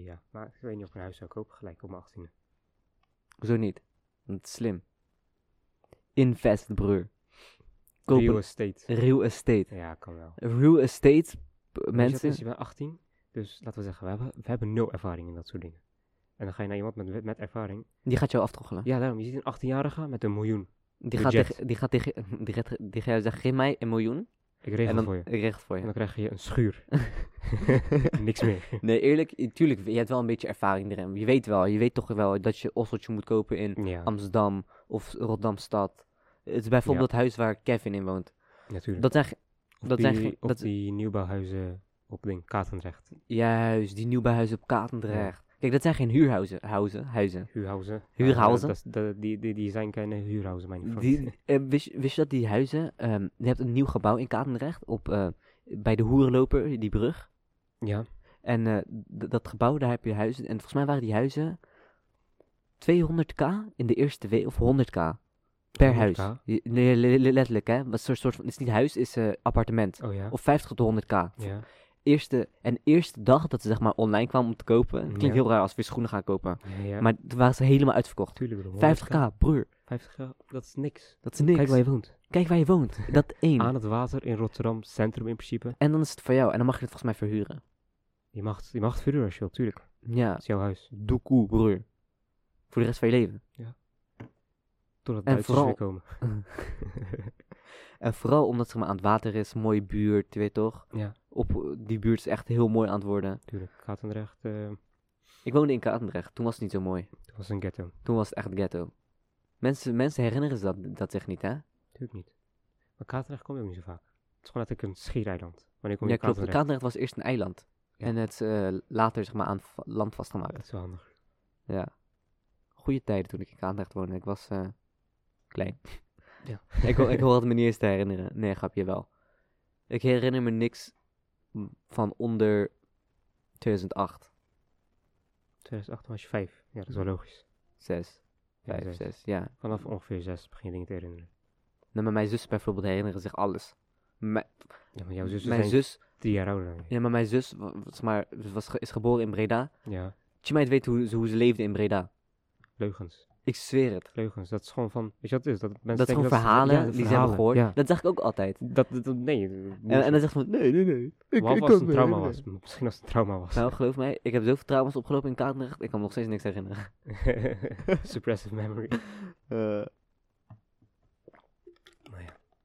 B: Ja, maar ik weet niet of ik een huis zou kopen gelijk op mijn 18e.
A: Zo niet. Dat is slim. Invest, broer. Koop
B: Real
A: real,
B: estate.
A: real estate.
B: Ja, kan wel.
A: Real estate, p-
B: Mensen...
A: mensen.
B: Je bent 18, dus laten we zeggen, we hebben, we hebben nul ervaring in dat soort dingen. En dan ga je naar iemand met, met ervaring.
A: Die gaat jou aftroggelen.
B: Ja, daarom. Je ziet een 18-jarige met een miljoen.
A: Die gaat,
B: budget.
A: tegen, die gaat tegen, die gaat, die gaat zeggen, geef mij een miljoen.
B: Ik regel
A: en dan
B: het voor je.
A: ik regel het voor
B: En
A: je.
B: dan krijg je een schuur. Niks meer.
A: Nee, eerlijk, i- tuurlijk, je hebt wel een beetje ervaring erin. Je weet wel, je weet toch wel dat je osseltje moet kopen in
B: Ja,
A: Amsterdam of Rotterdam-stad. Het is bijvoorbeeld het huis waar Kevin in woont.
B: natuurlijk.
A: Dat zijn, ge-
B: Of
A: dat
B: die,
A: zijn ge-
B: op
A: dat-
B: die nieuwbouwhuizen op ding Katendrecht.
A: juist, die nieuwbouwhuizen op Katendrecht. Kijk, dat zijn geen huurhuizen, huizen, huizen.
B: Huurhuizen. Ja,
A: Huurhuizen?
B: dat is- dat- die, die, die zijn geen huurhuizen, mijn vriend.
A: Die, eh, wist, je- wist je dat die huizen, ehm, je hebt een nieuw gebouw in Katendrecht op, eh, bij de Hoerenloper, die brug.
B: Ja,
A: En eh, d- dat gebouw, daar heb je huizen. En volgens mij waren die huizen 200k in de eerste week, of 100k per huis.
B: 100k?
A: Je- nee, le- le- letterlijk, hè? Wat soort, soort van, het is niet huis, het is eh, appartement.
B: oh ja.
A: Of 50 tot 100k.
B: ja.
A: Eerste, en eerste dag dat ze zeg maar online kwamen om te kopen. Het klinkt
B: Ja.
A: heel raar als we weer schoenen gaan kopen.
B: ja, ja.
A: Maar toen waren ze helemaal uitverkocht.
B: Tuurlijk, bro,
A: 50k, broer.
B: 50k, dat is niks.
A: Dat is niks.
B: Kijk waar je woont.
A: woont. Dat één.
B: Aan het water in Rotterdam, centrum in principe.
A: En dan is het van jou. En dan mag je het volgens mij verhuren.
B: Je mag, het- je mag het verhuren als je wilt, tuurlijk.
A: Ja.
B: Dat is jouw huis.
A: Doekoe, broer. Voor de rest van je leven.
B: Totdat
A: En
B: Duitsers
A: vooral-
B: weer komen.
A: En vooral omdat ze maar aan het water is, mooie buurt, je weet toch?
B: Ja.
A: Op, eh, die buurt is echt heel mooi aan het worden.
B: Tuurlijk, Katendrecht, eh
A: Ik woonde in Katendrecht, toen was het niet zo mooi.
B: dat was een ghetto.
A: Toen was het echt ghetto. Mensen, mensen herinneren ze dat, dat zich niet, hè?
B: Tuurlijk niet. Maar Katendrecht kom je ook niet zo vaak. Het is gewoon letterlijk een schiereiland. Wanneer kom je
A: Ja,
B: in
A: klopt.
B: Katendrecht?
A: Katendrecht was eerst een eiland.
B: Ja.
A: En het is eh, later zeg maar aan va- land
B: Dat
A: vastgemaakt.
B: is wel handig.
A: Ja. Goede tijden toen ik in Katendrecht woonde. Ik was eh, klein.
B: Ja.
A: ik, ho- ik hoor het me niet eens te herinneren. Nee, grapje wel. Ik herinner me niks m- van onder 2008.
B: 2008 was je vijf. Ja, dat is wel logisch.
A: Zes.
B: Ja,
A: Vijf,
B: zes.
A: zes, ja.
B: Vanaf ongeveer zes begin je dingen te herinneren.
A: Nou, maar mijn zus bijvoorbeeld herinneren zich alles. Mijn-
B: Ja, maar jouw zus is
A: mijn
B: mijn
A: zus,
B: drie jaar ouder dan je.
A: ja, maar mijn zus wa- was maar, was, ge- is geboren in Breda.
B: Ja,
A: Je meid weet hoe, ze- hoe ze leefde in Breda.
B: leugens.
A: Ik zweer het.
B: Leugens, dat is gewoon van... Weet je wat het is? Dat mensen
A: dat is gewoon
B: denken ze-
A: verhalen,
B: ja, dat
A: die ze hebben gehoord.
B: Ja.
A: Dat zeg ik ook altijd.
B: Dat, dat, dat- nee.
A: En, en dan zegt ze van, nee, nee, nee. Ik,
B: Behalve
C: ik
B: als
C: kan
B: het een
C: me
B: trauma was.
C: herinneren.
B: Misschien als het een trauma was.
A: Nou, geloof mij, ik heb zoveel trauma's opgelopen in Katendrecht. Ik kan me nog steeds niks herinneren.
B: Suppressive memory.
C: Eh,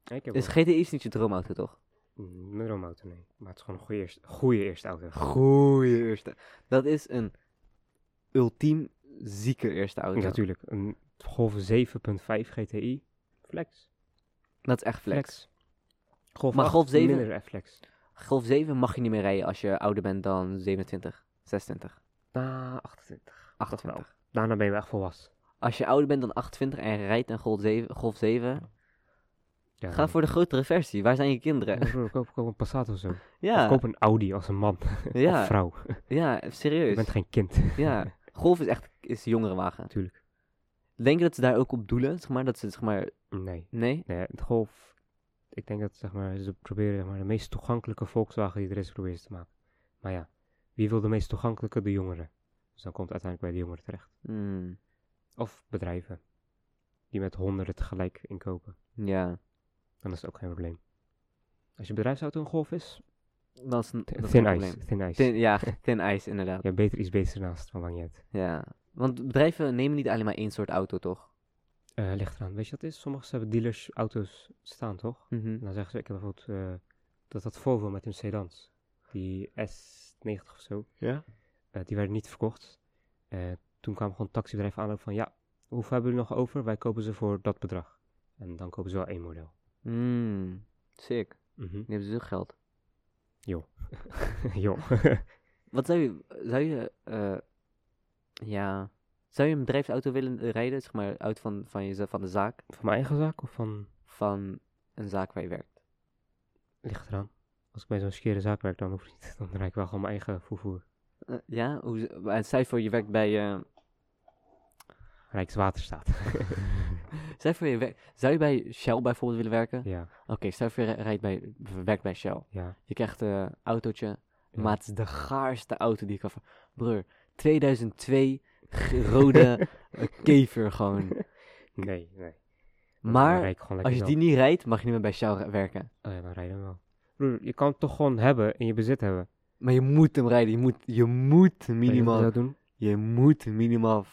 B: Ik heb
A: Dus GTI is niet je droomauto, toch?
B: een droomauto, nee. Maar het is gewoon een goede eerste, goede eerste auto.
A: Goeie eerste. Dat is een ultiem zieke eerste auto.
B: Natuurlijk, een Golf 7.5 GTI. Flex.
A: Dat is echt flex.
B: Golf
A: Maar
B: 8
A: Golf 7?
B: minder flex.
A: Golf 7 mag je niet meer rijden als je ouder bent dan 27, 26,
B: Na 28. wel.
A: 28.
B: Daarna ben je wel echt volwassen.
A: Als je ouder bent dan 28 en je rijdt een Golf 7, Golf 7
B: Ja,
A: ga voor de grotere versie. Waar zijn je kinderen?
B: Koop, koop, koop een Passat of zo. Of
A: Ja,
B: koop een Audi als een man of
A: ja,
B: vrouw.
A: ja,
B: Je
A: serieus.
B: bent geen kind.
A: Ja, Golf is echt is een jongerenwagen.
B: Tuurlijk.
A: Denk je dat ze daar ook op doelen? Zeg maar, dat ze zeg maar,
B: Nee.
A: nee?
B: Nee, het golf. Ik denk dat zeg maar, ze proberen zeg maar, de meest toegankelijke Volkswagen die er is proberen ze te maken. Maar ja, wie wil de meest toegankelijke? De jongeren. Dus dan komt het uiteindelijk bij de jongeren terecht.
A: Hmm,
B: Of bedrijven. Die met honderden tegelijk inkopen.
A: ja,
B: Dan is het ook geen probleem. Als je bedrijfsauto een golf is,
A: dat is een, dat
B: th-
A: is
B: thin
A: een
B: ice.
A: probleem.
B: Thin ice.
A: Thin, ja, thin ice inderdaad.
B: Je hebt beter iets beters naast, maar maakt niet uit.
A: Ja, want bedrijven nemen niet alleen maar één soort auto, toch?
B: Eh, ligt eraan. Weet je wat het is? Sommigen hebben dealers auto's staan, toch? En dan zeggen ze, ik heb bijvoorbeeld eh, dat dat Volvo met hun sedans. Die S90 of zo.
C: Ja?
B: Eh, die werden niet verkocht. Eh, toen kwam gewoon taxibedrijf aanlopen van ja, hoeveel hebben jullie nog over? Wij kopen ze voor dat bedrag. En dan kopen ze wel één model.
A: Mm, sick.
B: Mhm.
A: Die hebben ze geld.
B: Joh.
A: Wat zou je, zou je, eh, ja, zou je een bedrijfsauto willen eh, rijden, zeg maar, uit van, van, je, van de zaak,
B: van mijn eigen zaak of van
A: van een zaak waar je werkt?
B: ligt eraan. Als ik bij zo'n skere zaak werk, dan hoef ik niet. Dan rijd ik wel gewoon mijn eigen vervoer.
A: Eh, ja, hoe, z- en stel je voor je werkt bij, eh,
B: Rijkswaterstaat.
A: stel je voor je werkt, zou je bij Shell bijvoorbeeld willen werken?
B: ja,
A: Oké, stel je voor je rijdt bij, werkt bij Shell.
B: ja.
A: Je krijgt eh, een autootje,
B: Ja.
A: maar het is de gaarste auto die ik kan... ver- Broer, 2002 g- rode eh, kever gewoon.
B: Nee, nee. Dan
A: Maar
B: rijd ik gewoon lekker
A: als je
B: zelf.
A: die niet rijdt, mag je niet meer bij Shell ra- werken.
B: Oh ja, dan rijden we wel. Broer, je kan het toch gewoon hebben, in je bezit hebben.
A: Maar je moet hem rijden. Je moet, je moet
B: Weet je wat
A: minimaal.
B: je zou doen?
A: Je moet minimaal 50k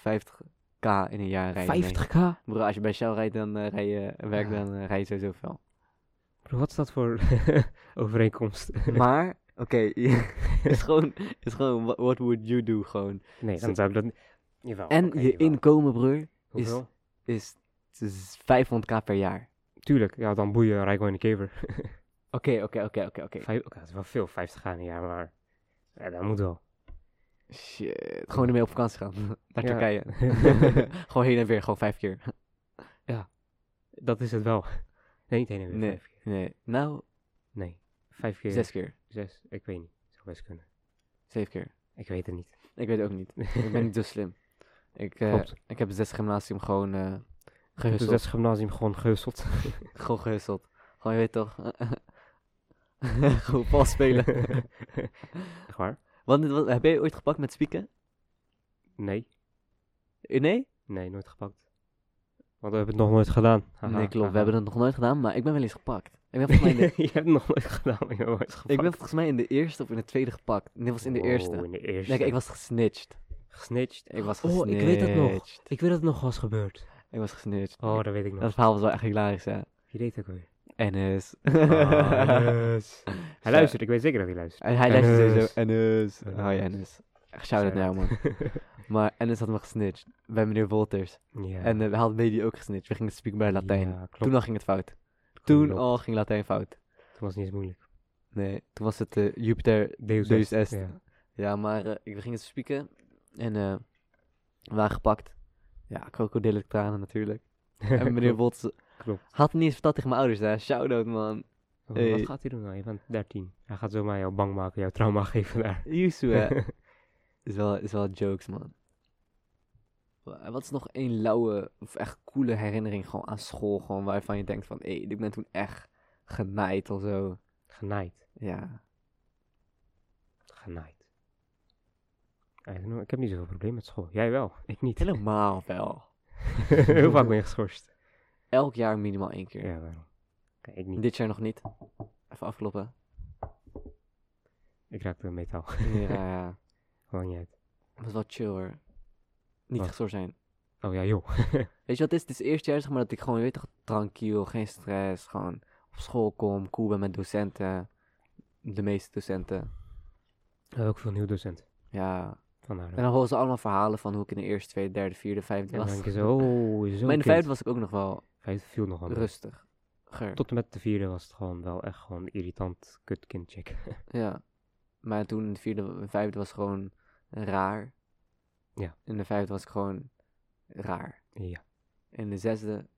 A: in een jaar rijden. nee.
B: 50k?
A: Bro, als je bij Shell rijdt, dan eh, rij je en werkt,
B: Ja.
A: dan eh, rij je sowieso veel.
B: Broer, wat is dat voor overeenkomst?
A: Maar, oké, is gewoon, is gewoon, wha- what would you do gewoon.
B: Nee,
A: Zo-
B: dan zou ik dat niet... Jawel,
A: en
B: oké,
A: je
B: jawel.
A: inkomen, broer,
B: Hoeveel?
A: is, is 500k per jaar.
B: Tuurlijk, ja, dan boeien, rij gewoon in de kever.
A: Oké, oké, oké, oké, oké.
B: Vijf- Oké, dat is wel veel, 50 gaan in een jaar, maar... Ja, dat moet wel.
A: Shit. Gewoon ermee op vakantie gaan. Naar
B: Ja.
A: Turkije. gewoon heen en weer, gewoon vijf keer.
B: Dat is het wel. Nee, niet één en weer.
A: Nee.
B: Vijf keer.
A: Nee, nou,
B: nee. Vijf keer...
A: zes keer.
B: Zes, ik weet niet. Zou best kunnen.
A: Zeven keer.
B: Ik weet het niet.
A: Ik weet het ook niet. Ik ben niet zo slim. Ik, eh,
B: Klopt.
A: ik heb het zesde gymnasium gewoon eh
B: Dus
A: gehusteld.
B: dat is gymnasium gewoon gehusteld.
A: Gewoon gehusteld. Gewoon, je weet toch. gewoon vals spelen.
B: Echt waar?
A: Want, dit was- heb jij ooit gepakt met spieken?
B: Nee.
A: Eh, Nee?
B: Nee, nooit gepakt. Want we hebben het nog nooit gedaan. Haha,
A: nee, klopt.
B: haha.
A: We hebben het nog nooit gedaan, maar ik ben wel eens gepakt. Ik ben volgens mij in de,
B: je hebt het nog nooit gedaan, maar je wordt gepakt.
A: ik ben volgens mij in de eerste of in de tweede gepakt. Dit was in de
B: Wow,
A: eerste.
B: in de eerste.
A: Nee, ik was gesnitcht.
B: gesnitcht.
A: Ik was
B: Oh,
A: gesnitcht.
B: ik weet dat nog. Ik weet dat het nog was gebeurd.
A: Ik was gesnitcht.
B: Oh, dat weet ik nog.
A: Dat verhaal was wel echt hilarisch, hè.
B: Je deed het ook weer.
A: Enes.
B: Ah, Hij luistert, ik weet zeker dat hij luistert.
A: Hij, hij luistert sowieso.
B: Enes.
A: Oh Enes.
B: Enes.
A: Hoi Enes. Echt shout-out naar jou, nou, man.
B: man.
A: Maar Enes had me gesnitcht. Bij meneer Wolters.
B: ja.
A: En eh, we hadden Medi ook gesnitcht. We gingen spieken bij Latijn.
B: Ja, klopt.
A: Toen al ging het fout. Toen
B: klopt.
A: al ging Latijn fout.
B: Toen was het niet eens moeilijk.
A: Nee, toen was het eh, Jupiter.
B: Deus,
A: Deus est.
B: Ja.
A: Ja, maar eh, we gingen spieken. En eh, we waren gepakt. Ja, krokodillen tranen natuurlijk. En meneer
B: Klopt,
A: Wolters
B: Klopt.
A: had niet eens verteld tegen mijn ouders. hè. Shout-out, man.
B: Wat
A: Hey.
B: gaat hij doen nou? Je bent 13. Hij gaat zomaar jou bang maken, jou trauma geven daar.
A: Yusu, hè. is, wel, is wel jokes, man. Wa- Wat is nog één lauwe of echt coole herinnering gewoon aan school? Gewoon waarvan je denkt van, hé, ik ben toen echt genaaid of zo.
B: Genaaid.
A: Ja.
B: Genaaid. I don't know, Ik heb niet zoveel probleem met school. Jij wel, ik niet.
A: Helemaal wel.
B: Heel vaak ben je geschorst.
A: Elk jaar minimaal één keer.
B: Ja, daarom. Kijk, ik niet.
A: Dit jaar nog niet. Even afkloppen.
B: Ik raakte metaal.
A: ja, ja.
B: Gewoon niet uit.
A: Dat was wel chill hoor. Niet
B: Wat?
A: gestoord zijn.
B: Oh ja, joh.
A: Weet je wat het is? Het is het eerste jaar zeg maar dat ik gewoon, je weet toch, tranquil, geen stress. Gewoon op school kom, cool ben met docenten. De meeste docenten.
B: We hebben ook veel nieuw docent.
A: Ja,
B: Van haar.
A: En dan horen ze allemaal verhalen van hoe ik in de eerste, tweede, derde, vierde, vijfde
B: En dan
A: was.
B: denk je zo, oh, zo
A: maar in de vijfde was ik ook nog wel
B: viel nog wel mee.
A: rustig.
B: Tot en met de vierde was het gewoon wel echt gewoon irritant kut kindcheck.
A: Ja. Maar toen in de vierde, in de vijfde was gewoon raar.
B: Ja.
A: In de vijfde was ik gewoon raar.
B: ja,
A: In de zesde,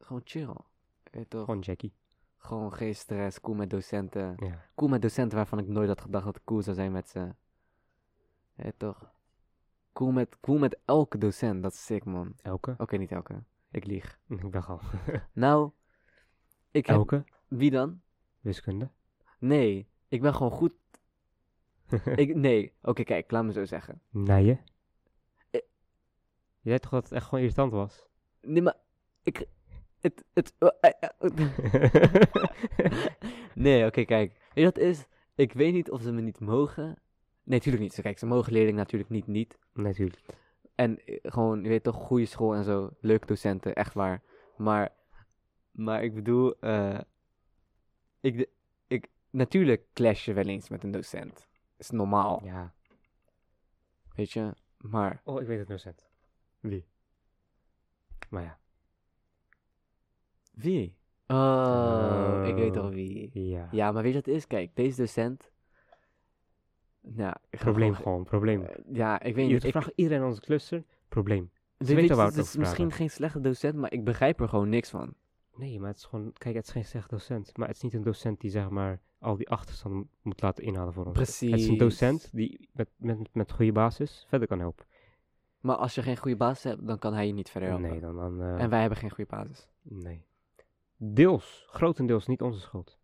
A: gewoon chill. Weet toch?
B: gewoon Jackie.
A: Gewoon geen stress, cool met docenten.
B: Ja.
A: Cool met docenten waarvan ik nooit had gedacht dat ik cool zou zijn met ze. Weet toch? Cool met, cool met elke docent, dat is sick man. Oké,
B: Elke?
A: niet elke. Ik lieg.
B: Ik dacht al.
A: Nou, ik heb...
B: Elke?
A: Wie dan?
B: Wiskunde?
A: Nee, ik ben gewoon goed. ik, nee, oké, kijk, laat me zo zeggen.
B: Nijen?
A: Eh.
B: Je zei toch dat het echt gewoon irritant was?
A: Nee, maar ik. Het. het eh, eh, eh, nee, oké, kijk. Weet je wat het is? Ik weet niet of ze me niet mogen. Nee, tuurlijk niet. Ze- Kijk, ze mogen leerlingen natuurlijk niet niet.
B: Natuurlijk.
A: En eh, gewoon, je weet toch, goede school en zo. Leuke docenten, echt waar. Maar, maar ik bedoel, eh, ik, de- ik, natuurlijk clash je wel eens met een docent. Is normaal,
B: Ja.
A: weet je. Maar
B: Oh, ik weet het docent.
A: Wie?
B: Maar ja.
A: Wie? Oh, ik weet
B: Oh.
A: al wie.
B: Ja.
A: Ja, maar weet je wat het is? Kijk, deze docent. Ja, ik ga
B: Probleem
A: gewoon-
B: gewoon, probleem.
A: Ja, ik weet niet.
B: Ieder,
A: Ik,
B: vraag iedereen aan onze cluster, probleem.
A: weet,
B: weten
A: weet je,
B: waar we
A: het
B: het
A: is
B: over
A: misschien
B: praten.
A: geen slechte docent, maar ik begrijp er gewoon niks van.
B: Nee, maar het is gewoon, kijk, het is geen slecht docent. Maar het is niet een docent die zeg maar al die achterstand mo- moet laten inhalen voor ons.
A: Precies.
B: Het is een docent die met, met, met goede basis verder kan helpen.
A: Maar als je geen goede basis hebt, dan kan hij je niet verder helpen.
B: Nee, dan. dan eh,
A: En wij hebben geen goede basis.
B: Nee. Deels, grotendeels niet onze schuld.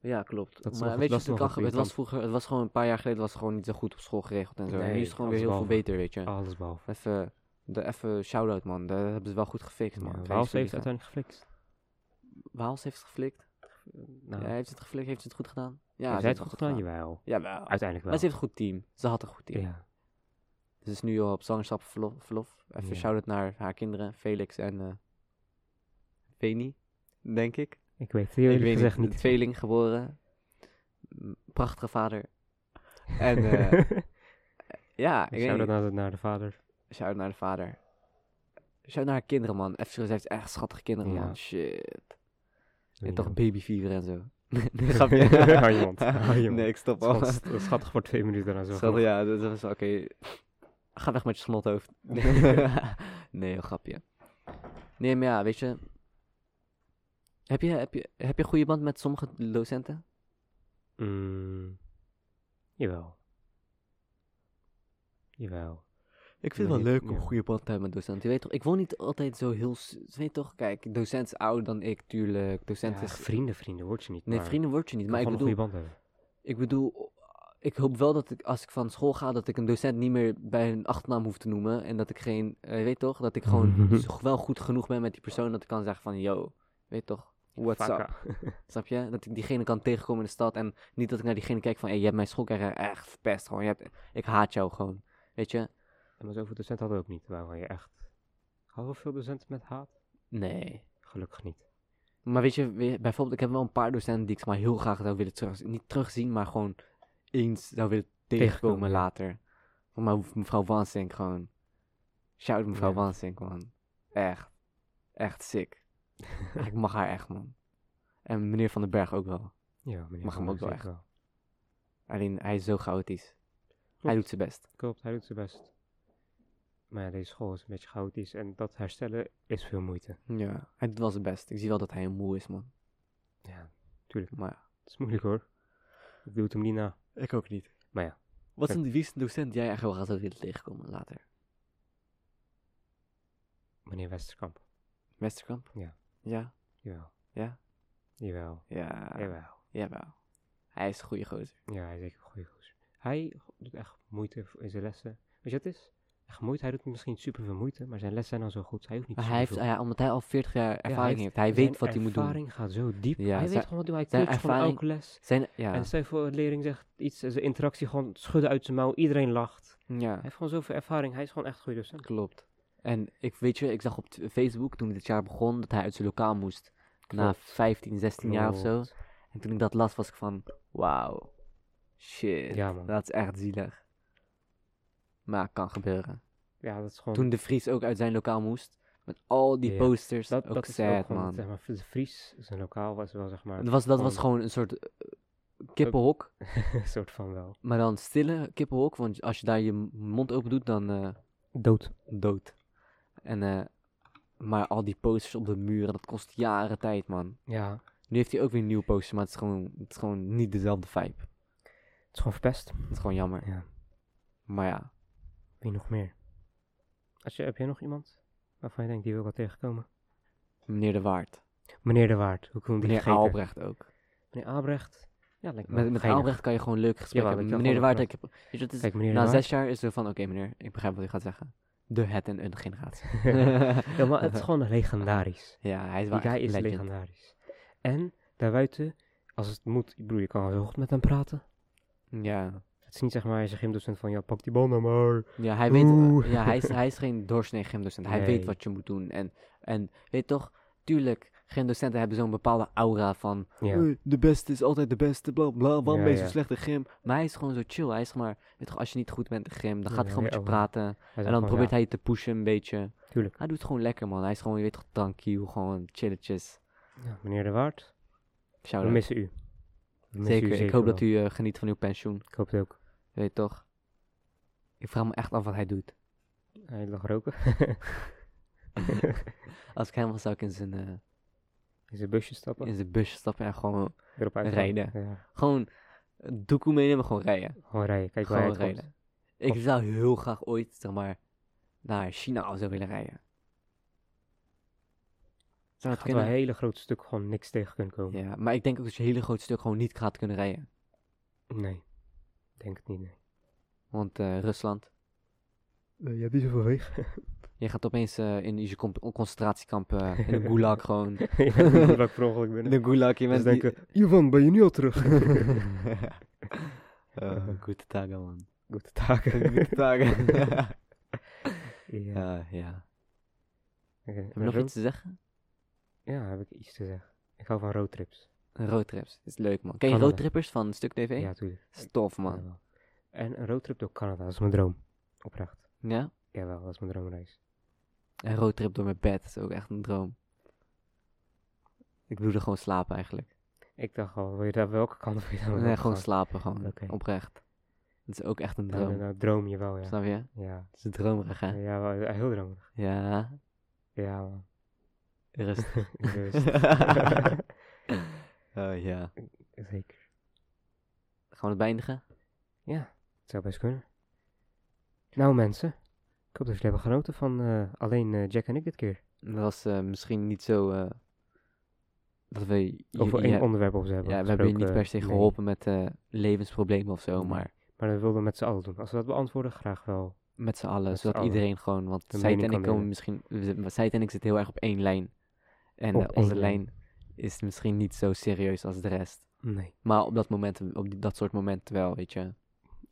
A: Ja, klopt.
B: Dat is
A: maar
B: nog-
A: weet je,
B: dat
A: wat
B: is
A: het,
B: nog
A: kan
B: een goede
A: gebeuren? het was
B: kant.
A: vroeger, het was gewoon een paar jaar geleden, was het gewoon niet zo goed op school geregeld en zo. En nu
B: Nee,
A: is het gewoon weer heel veel
B: allesbehalve.
A: beter, weet je.
B: Alles behalve.
A: Even, de, even shout-out, man. Daar hebben ze wel goed gefixt, man.
B: Ja,
A: Geen
B: Waals heeft
A: excuses, hè.
B: uiteindelijk geflikt.
A: Waals heeft het geflikt.
B: Nou,
A: Ja, heeft ze het geflikt? Heeft ze het goed gedaan? Ja,
B: heeft
A: ze
B: hij het
A: heeft
B: goed gedaan? Jawel.
A: Jawel.
B: Uiteindelijk wel.
A: Maar ze heeft een goed team. Ze had een goed team.
B: ja.
A: Ze is nu al op zwangerschapsverlof. verlof. Even
B: Ja.
A: shout-out naar haar kinderen, Felix en eh Veni, denk ik.
B: Ik weet het heel
A: ik
B: eerlijk
A: weet
B: gezegd
A: niet,
B: niet.
A: tweeling geboren. M, Prachtige vader. En eh, ja, ik weet
B: zou dat nou
A: niet.
B: naar, naar de vader.
A: Shout-out naar de vader. Shout-out naar haar kinderen, man. Even serieus, ze heeft echt schattige kinderen,
B: Ja.
A: man. Shit. En
B: Weet
A: toch
B: niet.
A: babyfever en zo. Nee,
B: Hou je mond, hou je mond.
A: Nee, ik stop
B: Dat
A: al.
B: is gewoon s- schattig voor twee minuten en zo.
A: Schat, ja, dat dat was oké. Ga weg met je snothoofd. nee, heel grapje. Nee, maar ja, weet je. Heb je, heb je, heb je een goede band met sommige docenten?
B: Mm, jawel. Jawel.
A: Ik
B: vind het wel leuk om een
A: goede band te hebben met docenten. Je weet toch, ik woon niet altijd zo heel... s- Je weet toch, kijk, docent is ouder dan ik, tuurlijk. Docent
B: Ja,
A: is...
B: vrienden, vrienden word je niet.
A: Nee,
B: maar
A: vrienden word je niet.
B: je
A: Maar ik
B: kan gewoon
A: bedoel,
B: een goede band hebben.
A: ik bedoel, ik hoop wel dat ik als ik van school ga, dat ik een docent niet meer bij hun achternaam hoef te noemen. En dat ik geen, eh, je weet toch, dat ik gewoon zo- wel goed genoeg ben met die persoon dat ik kan zeggen van, yo, weet toch, what's up,
B: Fuck up.
A: snap je? Dat ik diegene kan tegenkomen in de stad en niet dat ik naar diegene kijk van, hey, je hebt mijn schoolcarrière echt verpest, gewoon, je hebt, ik haat jou gewoon, weet je?
B: En maar zoveel docenten hadden we ook niet. Waarvan je echt... Hadden we veel docenten met haat?
A: Nee.
B: Gelukkig niet.
A: Maar weet je, we- bijvoorbeeld, ik heb wel een paar docenten die ik maar heel graag zou willen terug, niet terugzien, maar gewoon eens zou willen tegenkomen
B: Tegenkomen, ja.
A: later. Van mijn- mevrouw Wansink gewoon. Shout out mevrouw
B: Ja.
A: Wansink, man. Echt. Echt sick. ik mag haar echt, man. En meneer Van den Berg ook wel.
B: Ja, meneer
A: Mag
B: Van
A: hem
B: Dijk
A: ook wel
B: zeker
A: echt. Alleen, hij is zo chaotisch. Hij
B: Klopt.
A: doet zijn best.
B: Klopt, hij doet zijn best. Maar ja, deze school is een beetje chaotisch. En dat herstellen is veel moeite.
A: Ja. Hij doet wel zijn best. Ik zie wel dat hij moe is, man.
B: Ja,
A: Maar
B: het is moeilijk hoor. Ik doe het hem niet na.
A: Ik ook niet.
B: Maar ja.
A: Wat is
B: Kijk.
A: een, wie is een docent die jij echt wel graag zou willen tegenkomen later?
B: Meneer Westerkamp.
A: Westerkamp?
B: Ja.
A: Ja?
B: Jawel.
A: Ja? Ah.
B: Jawel.
A: Ja.
B: Jawel.
A: Jawel. Hij is een goede gozer.
B: Ja, hij is zeker een goede gozer. Hij doet echt moeite voor- in zijn lessen. Weet je wat het is? Echt moeite. Hij doet misschien super veel moeite, maar zijn lessen zijn al zo goed. Hij hoeft niet
A: Maar hij
B: superveel.
A: heeft, ja, omdat hij al 40 jaar ervaring heeft,
B: heeft-
A: hij
B: Zijn
A: weet wat hij moet doen.
B: ervaring gaat zo diep.
A: Ja,
B: hij
A: zijn-
B: weet gewoon wat hij doet. Hij
A: zijn
B: coacht gewoon
A: ervaring-
B: elke les.
A: Zijn, ja.
B: En stel je voor, de lering zegt iets, en zijn interactie gewoon schudden uit zijn mouw. Iedereen lacht.
A: ja,
B: Hij heeft gewoon zoveel ervaring. Hij is gewoon echt een goede docent.
A: klopt. En ik weet je, ik zag op t- Facebook toen dit jaar begon dat hij uit zijn lokaal moest. Na
B: Klopt.
A: 15, 16 jaar of zo.
B: Klopt.
A: En toen ik dat las, was ik van, wauw. Shit.
B: Ja, man.
A: Dat is echt zielig. Maar kan gebeuren.
B: Ja, dat is gewoon...
A: Toen De Vries ook uit zijn lokaal moest, Met al die
B: Ja,
A: posters.
B: Dat,
A: ook
B: dat is
A: sad,
B: ook gewoon,
A: man.
B: zeg maar, de Fries, zijn lokaal was wel, zeg maar,
A: Dat was, dat was
B: gewoon-
A: gewoon een soort eh, kippenhok.
B: een soort van wel
A: Maar dan stille kippenhok. Want als je daar je m- mond open doet, dan eh,
B: dood.
A: dood. En, eh, maar al die posters op de muren, dat kost jaren tijd, man.
B: Ja, het
A: Nu heeft hij ook weer een nieuwe poster, maar het is gewoon, het is gewoon niet dezelfde vibe.
B: is gewoon verpest.
A: Het is gewoon jammer.
B: Ja,
A: Maar ja,
B: wie nog meer? Als je, heb jij nog iemand waarvan je denkt, die wil ik wel tegenkomen?
A: meneer De Waard.
B: Meneer De Waard, hoe kon die
A: Meneer
B: vergeten?
A: Aalbrecht ook.
B: Meneer Aalbrecht. Ja, lijkt me
A: Met,
B: wel
A: met
B: geinig.
A: Aalbrecht kan je gewoon leuk gesprek
B: Jawel,
A: hebben.
B: dat kan
A: Meneer De
B: gewoon
A: Waard, ik heb, weet je, het is,
B: Kijk, meneer
A: na
B: De Waard.
A: zes jaar is het van, oké meneer, ik begrijp wat u gaat zeggen. De het en een generatie.
B: Ja, maar het is gewoon legendarisch.
A: ja, hij is
B: Die
A: wel
B: guy
A: echt
B: is
A: legend.
B: legendarisch. En daarbuiten, als het moet, ik bedoel, je kan wel heel goed met hem praten.
A: Ja.
B: Het is niet zeg maar, als je gymdocent van, ja, pak die bal nou maar.
A: Ja, hij weet, eh,
B: Oeh.
A: ja hij, is, hij is geen doorsnee gymdocent. Hij weet
B: Nee.
A: wat je moet doen. En, en weet toch, tuurlijk, gymdocenten hebben zo'n bepaalde aura van...
B: Ja,
A: "Eh, de beste is altijd de beste, bla bla, waarom
B: Ja,
A: ben je zo
B: ja.
A: slecht in gym? Maar hij is gewoon zo chill. Hij is gewoon maar, weet toch, als je niet goed bent in gym, dan
B: Ja,
A: gaat hij gewoon met
B: ja,
A: je
B: oh.
A: praten.
B: hij
A: En dan probeert
B: probeert
A: hij je te pushen een beetje.
B: hij... Tuurlijk.
A: Hij doet het gewoon lekker, man. Hij is gewoon, je weet toch, tranquil, gewoon chilletjes.
B: Ja, meneer De Waard, we
A: Shout-out.
B: missen u. We missen
A: Zeker, ik hoop dat u
B: wel.
A: eh, geniet van uw pensioen.
B: Ik hoop het ook.
A: Je weet toch? Ik vraag me echt af wat hij doet.
B: Hij lag roken.
A: Als ik hem was, zou ik in zijn, eh,
B: In zijn busje stappen.
A: in zijn busje stappen en gewoon,
B: erop uit.
A: rijden.
B: Ja,
A: gewoon een doekoe meenemen, gewoon rijden.
B: gewoon rijden. Kijk waar
A: gewoon
B: hij rijden.
A: rijden. Ik zou heel graag ooit, zeg maar, naar China of zo willen rijden. Zou dat
B: Gaat wel een
A: kunnen?
B: hele groot stuk gewoon niks tegen kunnen komen.
A: Ja, maar ik denk ook dat je een hele groot stuk gewoon niet gaat kunnen rijden.
B: Nee, denk het niet. Nee.
A: Want eh, Rusland,
B: je Eh, hebt niet zoveel weg.
A: je gaat opeens eh, in je comp- concentratiekamp, eh, in een gulag gewoon.
B: ja, dat ik per ongeluk Dus binnen.
A: De gulag, je
B: Mensen
A: bent die-
B: denken, Jovan, ben je nu al terug?
A: Eh, Goede tagen, man.
B: Goede taken.
A: Goede tagen.
B: ja.
A: ja, ja.
B: Oké,
A: Heb je
B: maar
A: nog
B: road-
A: iets te zeggen?
B: Ja, heb ik iets te zeggen. Ik hou van roadtrips.
A: Roadtrips, is leuk, man. Ken je
B: Kan wel.
A: roadtrippers van Stuk TV?
B: Ja, tuurlijk.
A: Stof, man.
B: Jawel. En een roadtrip door Canada, dat is mijn droom. Oprecht.
A: Ja?
B: Jawel, dat is mijn droomreis.
A: Een roadtrip door mijn bed is ook echt een droom. Ik bedoel er gewoon slapen eigenlijk.
B: Ik dacht al, wil je daar welke kant wil je dan
A: Nee,
B: op
A: gewoon
B: gaan?
A: slapen, gewoon.
B: Oké.
A: Oprecht. Dat is ook echt een
B: Nou,
A: droom.
B: nou, nou, droom je wel, ja.
A: Snap je?
B: Ja,
A: Het is een dromerig, hè?
B: ja wel, ja, heel dromerig.
A: Ja.
B: Ja, man.
A: Rustig.
B: Rust.
A: Eh, ja.
B: Zeker.
A: Gaan we het beëindigen?
B: Ja, het zou best kunnen. Nou mensen, ik hoop dat jullie hebben genoten van eh, alleen eh, Jack en ik dit keer.
A: Dat was eh, misschien niet zo... eh, dat we... je-
B: Over
A: je-
B: één onderwerp op ze hebben
A: Ja, we hebben je niet
B: gesproken,
A: per se
B: nee.
A: geholpen met eh, levensproblemen of zo,
B: Nee.
A: maar
B: Maar dat wilden we met z'n allen doen. Als we dat beantwoorden, graag wel.
A: met z'n allen,
B: Met z'n
A: zodat
B: allen.
A: iedereen gewoon, want
B: Een
A: Said
B: mening
A: en
B: kan
A: ik komen
B: delen.
A: misschien, we zitten- maar Said en ik zitten heel erg op één lijn. En
B: Op
A: eh, onze
B: één
A: lijn.
B: lijn.
A: is misschien niet zo serieus als de rest.
B: Nee,
A: Maar op dat moment, op die- dat soort momenten wel, weet je.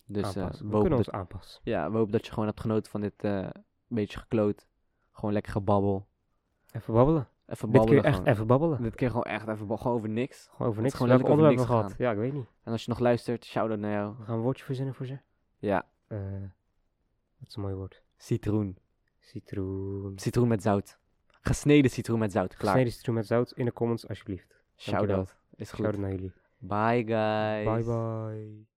A: Dus eh,
B: aanpassen.
A: we,
B: we kunnen
A: hopen
B: ons
A: dat,
B: aanpassen.
A: ja, we hopen dat je gewoon hebt genoten van dit eh, beetje gekloot. Gewoon lekker gebabbel.
B: Even babbelen.
A: Even
B: dit
A: babbelen
B: keer echt
A: gewoon.
B: even babbelen.
A: Dit keer gewoon echt even babbelen, gewoon over niks.
B: Gewoon
A: Het
B: over niks.
A: is gewoon
B: Welke
A: letterlijk over
B: onderwerp
A: niks
B: we gehad? Ja, ik weet niet.
A: En als je nog luistert, shout-out naar jou.
B: We gaan een woordje verzinnen voor ze.
A: Ja,
B: Eh, dat is een mooi woord.
A: citroen.
B: Citroen.
A: Citroen met zout. Gesneden citroen met zout, klaar.
B: Gesneden citroen met zout in de comments alsjeblieft.
A: Shout-out. Is goed.
B: Shout out naar jullie.
A: Bye guys.
B: Bye bye.